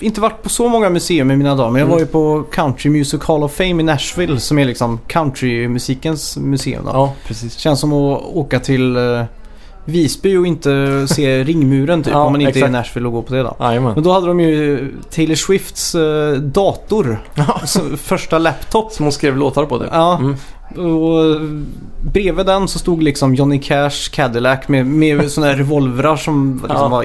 Speaker 1: inte varit på så många museer med mina dagar, men jag
Speaker 2: Mm.
Speaker 1: var ju på Country Music Hall of Fame i Nashville som är liksom countrymusikens museum. Då.
Speaker 2: Ja, precis.
Speaker 1: Känns som att åka till eh, Visby och inte
Speaker 2: [laughs]
Speaker 1: se ringmuren typ,
Speaker 2: Ja,
Speaker 1: om man inte är
Speaker 2: exakt.
Speaker 1: i Nashville och går på det då.
Speaker 2: Jajamän.
Speaker 1: Men då hade de ju Taylor Swifts eh, dator, så, första laptop.
Speaker 2: [laughs] Som hon skrev låtar på det.
Speaker 1: Ja,
Speaker 2: Mm.
Speaker 1: och bredvid den så stod liksom Johnny Cash Cadillac med, med sådana här revolvrar som liksom
Speaker 2: Ja.
Speaker 1: var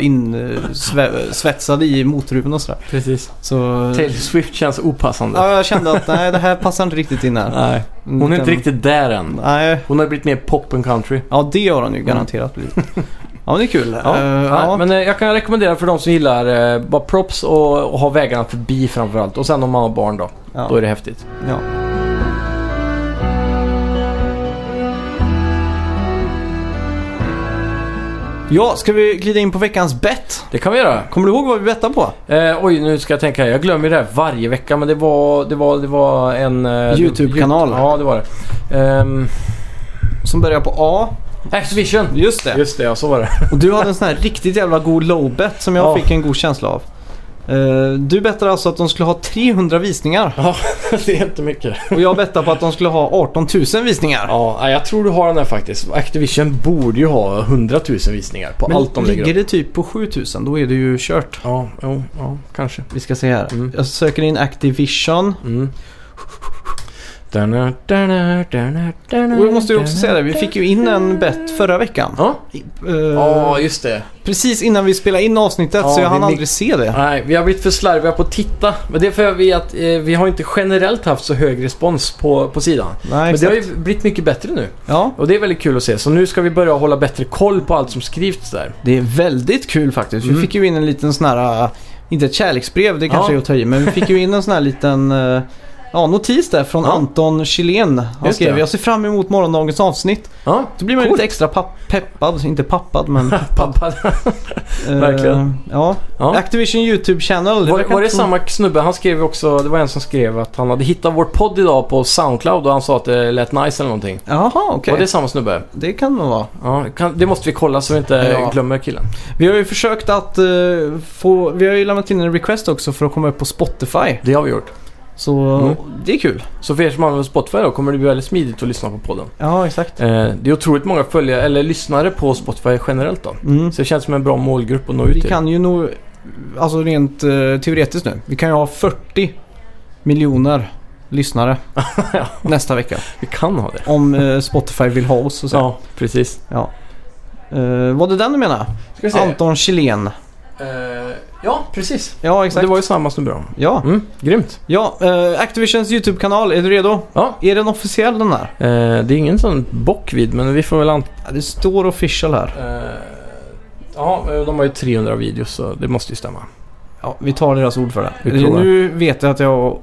Speaker 1: insvetsade i motorhuven och sådär.
Speaker 2: Precis.
Speaker 1: Så,
Speaker 2: Taylor Swift känns opassande.
Speaker 1: Ja, jag kände att nej, det här passar inte riktigt in här. Mm,
Speaker 2: Nej. Hon är inte riktigt där än.
Speaker 1: Nej,
Speaker 2: Hon har blivit mer pop än country.
Speaker 1: ja det har hon ju garanterat blivit. Ja, men det är kul.
Speaker 2: Mm. Ja,
Speaker 1: Eh,
Speaker 2: Nej, Men eh, jag kan rekommendera för de som gillar eh, bara props och, och ha vägarna förbi framförallt. Och sen om man har barn då.
Speaker 1: ja,
Speaker 2: Då är det häftigt.
Speaker 1: ja. Ja, ska vi glida in på veckans bett?
Speaker 2: Det kan vi göra.
Speaker 1: Kommer du ihåg vad vi bettade på?
Speaker 2: Eh, oj, nu ska jag tänka här. Jag glömmer det här varje vecka. Men det var, det var, det var en... Eh,
Speaker 1: YouTube-kanal.
Speaker 2: Ja, det var det. Ehm,
Speaker 1: Som börjar på A.
Speaker 2: Activision.
Speaker 1: Just det.
Speaker 2: Just det, ja så var det.
Speaker 1: Och du hade en sån här riktigt jävla god low-bet som jag
Speaker 2: Ja.
Speaker 1: fick en god känsla av. Eh, du bettade alltså att de skulle ha 300 visningar.
Speaker 2: [laughs] Ja, det är inte mycket.
Speaker 1: Och jag bettade på att de skulle ha 18 000 visningar.
Speaker 2: Ja, nej, jag tror du har den här faktiskt. Activision borde ju ha 100 000 visningar på
Speaker 1: Men
Speaker 2: allt de lägger
Speaker 1: ligger
Speaker 2: upp.
Speaker 1: det typ på 7 000 då är det ju kört.
Speaker 2: Ja, jo, ja, kanske.
Speaker 1: Vi ska se här.
Speaker 2: Mm.
Speaker 1: Jag söker in Activision.
Speaker 2: Mm. Dana, dana, dana, dana,
Speaker 1: Och vi måste ju också
Speaker 2: dana.
Speaker 1: säga det, vi fick ju in en bett förra veckan.
Speaker 2: Ja,
Speaker 1: Eh,
Speaker 2: ja just det.
Speaker 1: Precis innan vi spelade in avsnittet
Speaker 2: Ja,
Speaker 1: så jag
Speaker 2: vi
Speaker 1: hann
Speaker 2: mig-
Speaker 1: aldrig se det.
Speaker 2: Nej, vi har blivit för slarviga på att titta. Men det är för att vi, att, eh, vi har inte generellt haft så hög respons på, på sidan.
Speaker 1: Nej,
Speaker 2: Men det
Speaker 1: exakt.
Speaker 2: har ju blivit mycket bättre nu.
Speaker 1: Ja,
Speaker 2: Och det är väldigt kul att se. Så nu ska vi börja hålla bättre koll på allt som skrivs där.
Speaker 1: det är väldigt kul faktiskt. Vi
Speaker 2: Mm.
Speaker 1: fick ju in en liten sån här, eh, inte ett kärleksbrev, det kanske
Speaker 2: Ja.
Speaker 1: är att ta i, men vi fick ju in en sån här liten eh, Ja, notis där från
Speaker 2: Ja.
Speaker 1: Anton Chilén. Han
Speaker 2: Just
Speaker 1: skrev
Speaker 2: det.
Speaker 1: jag ser fram emot morgondagens avsnitt.
Speaker 2: Ja,
Speaker 1: Då blir man
Speaker 2: Coolt.
Speaker 1: lite extra papp- peppad, inte pappad [laughs] men
Speaker 2: pappa.
Speaker 1: Eh,
Speaker 2: Verkligen.
Speaker 1: ja.
Speaker 2: Ja.
Speaker 1: Activision YouTube channel.
Speaker 2: Var,
Speaker 1: verkar
Speaker 2: var det
Speaker 1: inte så-
Speaker 2: samma snubbe? Han skrev ju också, det var en som skrev att han hade hittat vår podd idag på Soundcloud och han sa att det lät nice eller någonting.
Speaker 1: Jaha, okej.
Speaker 2: Var det
Speaker 1: Det...
Speaker 2: samma snubbe?
Speaker 1: kan nog vara.
Speaker 2: Ja, kan, det måste vi kolla så vi inte
Speaker 1: Ja.
Speaker 2: glömmer killen.
Speaker 1: Vi har ju försökt att eh, få... Vi har ju lämnat in en request också för att komma upp på Spotify.
Speaker 2: Det har vi gjort.
Speaker 1: Så
Speaker 2: Mm.
Speaker 1: det är kul.
Speaker 2: Så för er som använder Spotify då kommer det bli väldigt smidigt att lyssna på podden.
Speaker 1: Ja, exakt.
Speaker 2: Eh, det är otroligt många följare, eller lyssnare på Spotify generellt då.
Speaker 1: Mm.
Speaker 2: Så det känns som en bra målgrupp att nå
Speaker 1: Vi
Speaker 2: ut till.
Speaker 1: kan ju nog... Alltså rent eh, teoretiskt nu. Vi kan ju ha 40 miljoner
Speaker 2: [laughs]
Speaker 1: lyssnare nästa vecka.
Speaker 2: Vi kan ha det.
Speaker 1: Om eh, Spotify vill ha oss och så.
Speaker 2: Ja, precis.
Speaker 1: Eh, var det den du menade?
Speaker 2: Ska
Speaker 1: Anton Chilén.
Speaker 2: Eh, ja, precis.
Speaker 1: Ja,
Speaker 2: Det
Speaker 1: exakt.
Speaker 2: var ju samma snubbe då.
Speaker 1: Ja,
Speaker 2: Mm, grymt.
Speaker 1: ja eh, Activisions YouTube-kanal. Är du redo?
Speaker 2: Ja,
Speaker 1: Är den officiell den här?
Speaker 2: eh, det är ingen sån bockvid men vi får väl anta
Speaker 1: Ja, Det står official här.
Speaker 2: eh, Ja, eh, de har ju 300 videos så det måste ju stämma.
Speaker 1: Ja, vi tar deras ord för det.
Speaker 2: Vi provar.
Speaker 1: Nu vet jag att jag har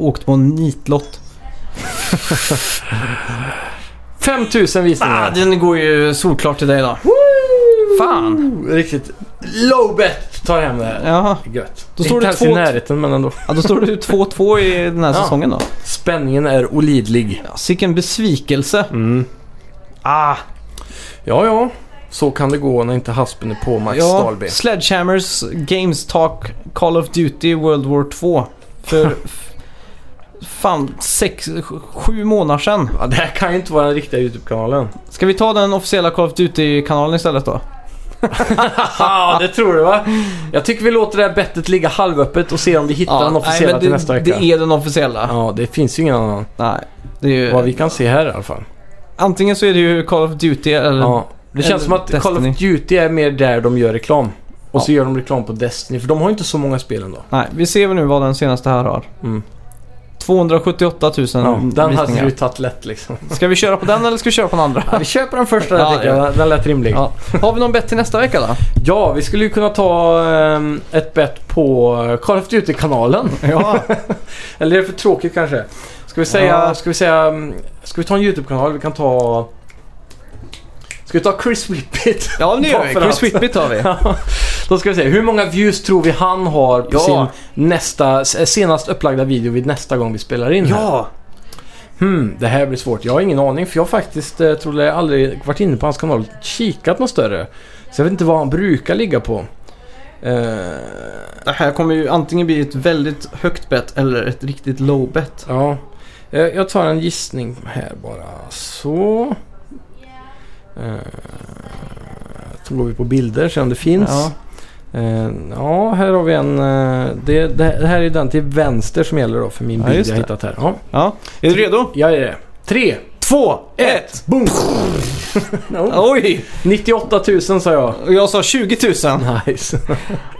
Speaker 1: åkt på en nitlott.
Speaker 2: 5000 visningar!
Speaker 1: Ah, den går ju solklart till dig då. Fan!
Speaker 2: Oh, Riktigt low bet tar hem det här.
Speaker 1: Jaha.
Speaker 2: Gött.
Speaker 1: Då står det
Speaker 2: Inte ens
Speaker 1: två-
Speaker 2: i närheten men ändå.
Speaker 1: Ja, då står det ju 2-2 i den här
Speaker 2: Ja.
Speaker 1: säsongen då.
Speaker 2: Spänningen är olidlig.
Speaker 1: Ja, Sicken besvikelse.
Speaker 2: Mm.
Speaker 1: Ah,
Speaker 2: Ja, ja. Så kan det gå när inte haspen är på Max
Speaker 1: ja,
Speaker 2: Dahlby.
Speaker 1: Sledgehammers Games Talk Call of Duty World War 2. För
Speaker 2: [laughs]
Speaker 1: f- fan, sex, sj- sju månader sedan.
Speaker 2: Ja, det här kan ju inte vara den riktiga YouTube-kanalen.
Speaker 1: Ska vi ta den officiella Call of Duty-kanalen istället då?
Speaker 2: Ja, det tror du va? Jag tycker vi låter det här bettet ligga halvöppet och ser om vi hittar den officiella
Speaker 1: men
Speaker 2: till
Speaker 1: det,
Speaker 2: nästa vecka.
Speaker 1: Det är den officiella.
Speaker 2: Ja, det finns ju ingen annan.
Speaker 1: Nej, det är ju...
Speaker 2: Vad vi kan se här i alla fall.
Speaker 1: Antingen så är det ju Call of Duty eller...
Speaker 2: Ja. Det känns som att Call
Speaker 1: Destiny.
Speaker 2: of Duty är mer där de gör reklam. Och så
Speaker 1: Ja.
Speaker 2: gör de reklam på Destiny, för de har ju inte så många spel ändå.
Speaker 1: Nej, vi ser väl nu vad den senaste här har.
Speaker 2: Mm.
Speaker 1: 278 000
Speaker 2: Ja, den hade
Speaker 1: visningar.
Speaker 2: du ju tagit lätt liksom.
Speaker 1: Ska vi köra på den eller ska vi köra på den andra?
Speaker 2: Ja, vi köper den första,
Speaker 1: Ja,
Speaker 2: ja, tycker jag. Den lät rimlig. Ja.
Speaker 1: Ja. Har vi någon bett till nästa vecka då?
Speaker 2: vi skulle ju kunna ta ehm, ett bett på Call
Speaker 1: [laughs]
Speaker 2: of Duty-kanalen.
Speaker 1: Ja.
Speaker 2: Eller är det för tråkigt kanske? Ska vi säga...
Speaker 1: Ja.
Speaker 2: Ska vi säga... mm, Ska vi ta en YouTube-kanal? Vi kan ta... Ska vi ta Chris Whippet?
Speaker 1: ja, nu gör vi.
Speaker 2: Bara för
Speaker 1: Chris
Speaker 2: att-
Speaker 1: Whitby tar vi.
Speaker 2: [laughs] Då ska vi se. Hur många views tror vi han har på
Speaker 1: Ja.
Speaker 2: sin nästa, s- senast upplagda video vid nästa gång vi spelar in? här?
Speaker 1: ja!
Speaker 2: Hmm, det här blir svårt. Jag har ingen aning för jag har faktiskt, eh, trodde jag aldrig varit inne på hans kanal och kikat något större. Så jag vet inte vad han brukar ligga på. Eh,
Speaker 1: Det här kommer ju antingen bli ett väldigt högt bett eller ett riktigt low bett.
Speaker 2: Ja, jag jag tar en gissning här bara. Så. Eh, Så går vi på bilder, se om det finns.
Speaker 1: Ja.
Speaker 2: Eh, ja, här har vi en. eh, Det, det, det här är den till vänster som gäller då för min
Speaker 1: Ja,
Speaker 2: bild
Speaker 1: just
Speaker 2: jag
Speaker 1: det.
Speaker 2: hittat här. Ja,
Speaker 1: ja. Är du redo?
Speaker 2: jag är det. Tre,
Speaker 1: Två, ett!
Speaker 2: boom! [laughs] no.
Speaker 1: Oj!
Speaker 2: 98 000 sa jag.
Speaker 1: Och Jag sa 20 000.
Speaker 2: Nice.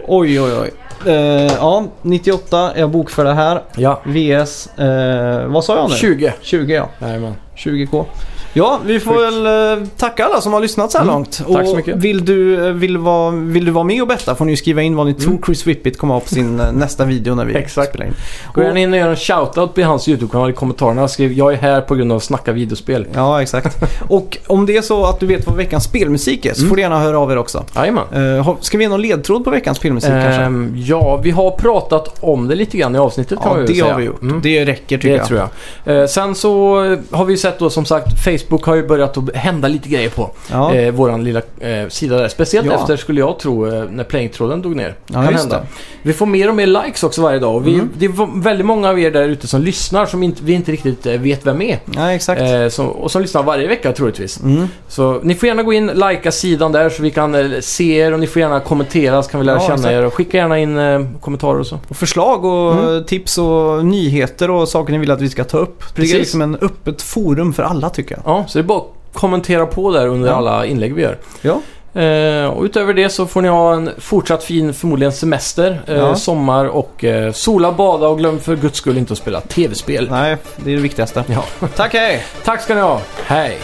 Speaker 1: Oj, oj, oj. Eh, ja, 98 är jag bokförda här.
Speaker 2: Ja,
Speaker 1: VS, eh, vad sa jag nu?
Speaker 2: 20.
Speaker 1: 20 ja.
Speaker 2: Jajamän.
Speaker 1: 20k. Ja, vi får
Speaker 2: Sjukt.
Speaker 1: väl eh, tacka alla som har lyssnat så här
Speaker 2: Mm.
Speaker 1: långt.
Speaker 2: Tack så
Speaker 1: Och
Speaker 2: mycket.
Speaker 1: Vill du, eh, vill, vara, vill du vara med och betta får ni skriva in vad ni tror Chris Whippet kommer ha på sin eh, nästa video när vi
Speaker 2: Mm. Exakt.
Speaker 1: spelar in.
Speaker 2: Gå gärna in och gör en shoutout på hans YouTube-kanal i kommentarerna. Skriv jag är här på grund av Snacka videospel.
Speaker 1: Ja, exakt. och om det är så att du vet vad veckans spelmusik är så
Speaker 2: Mm.
Speaker 1: får du gärna höra av er också.
Speaker 2: Jajamän.
Speaker 1: Eh, har- ska vi ge någon ledtråd på veckans spelmusik kanske?
Speaker 2: Ehm, ja, vi har pratat om det lite grann i avsnittet kan
Speaker 1: Ja,
Speaker 2: vi väl
Speaker 1: det
Speaker 2: säga.
Speaker 1: har vi gjort.
Speaker 2: Mm. Det,
Speaker 1: Det räcker tycker jag.
Speaker 2: tror jag. Eh, sen så eh, har vi ju sett då som sagt Facebook har ju börjat att hända lite grejer på
Speaker 1: Ja.
Speaker 2: eh, våran lilla eh, sida där. Speciellt
Speaker 1: Ja.
Speaker 2: efter skulle jag tro eh, när playingtråden dog ner.
Speaker 1: Ja, just det.
Speaker 2: Vi får mer och mer likes också varje dag. Och vi,
Speaker 1: Mm.
Speaker 2: Det är v- väldigt många av er där ute som lyssnar som inte, vi inte riktigt eh, vet vem är.
Speaker 1: ja, exakt.
Speaker 2: Eh, som, och som lyssnar varje vecka troligtvis.
Speaker 1: Mm.
Speaker 2: Så ni får gärna gå in, likea sidan där så vi kan eh, se er och ni får gärna kommentera så kan vi lära
Speaker 1: Ja,
Speaker 2: känna
Speaker 1: exakt.
Speaker 2: er och skicka gärna in eh, kommentarer och så.
Speaker 1: Och förslag och
Speaker 2: Mm.
Speaker 1: eh, tips och nyheter och saker ni vill att vi ska ta upp. Det
Speaker 2: Precis.
Speaker 1: är liksom en öppet forum för alla tycker jag.
Speaker 2: Ja, så det är bara att kommentera på där under
Speaker 1: Ja.
Speaker 2: alla inlägg vi gör.
Speaker 1: Ja.
Speaker 2: Eh, och utöver det så får ni ha en fortsatt fin, förmodligen semester, eh,
Speaker 1: Ja.
Speaker 2: sommar och eh, sola, bada och glöm för guds skull inte att spela tv-spel.
Speaker 1: Nej, det är det viktigaste.
Speaker 2: Ja.
Speaker 1: Tack, hej!
Speaker 2: Tack ska ni ha, hej!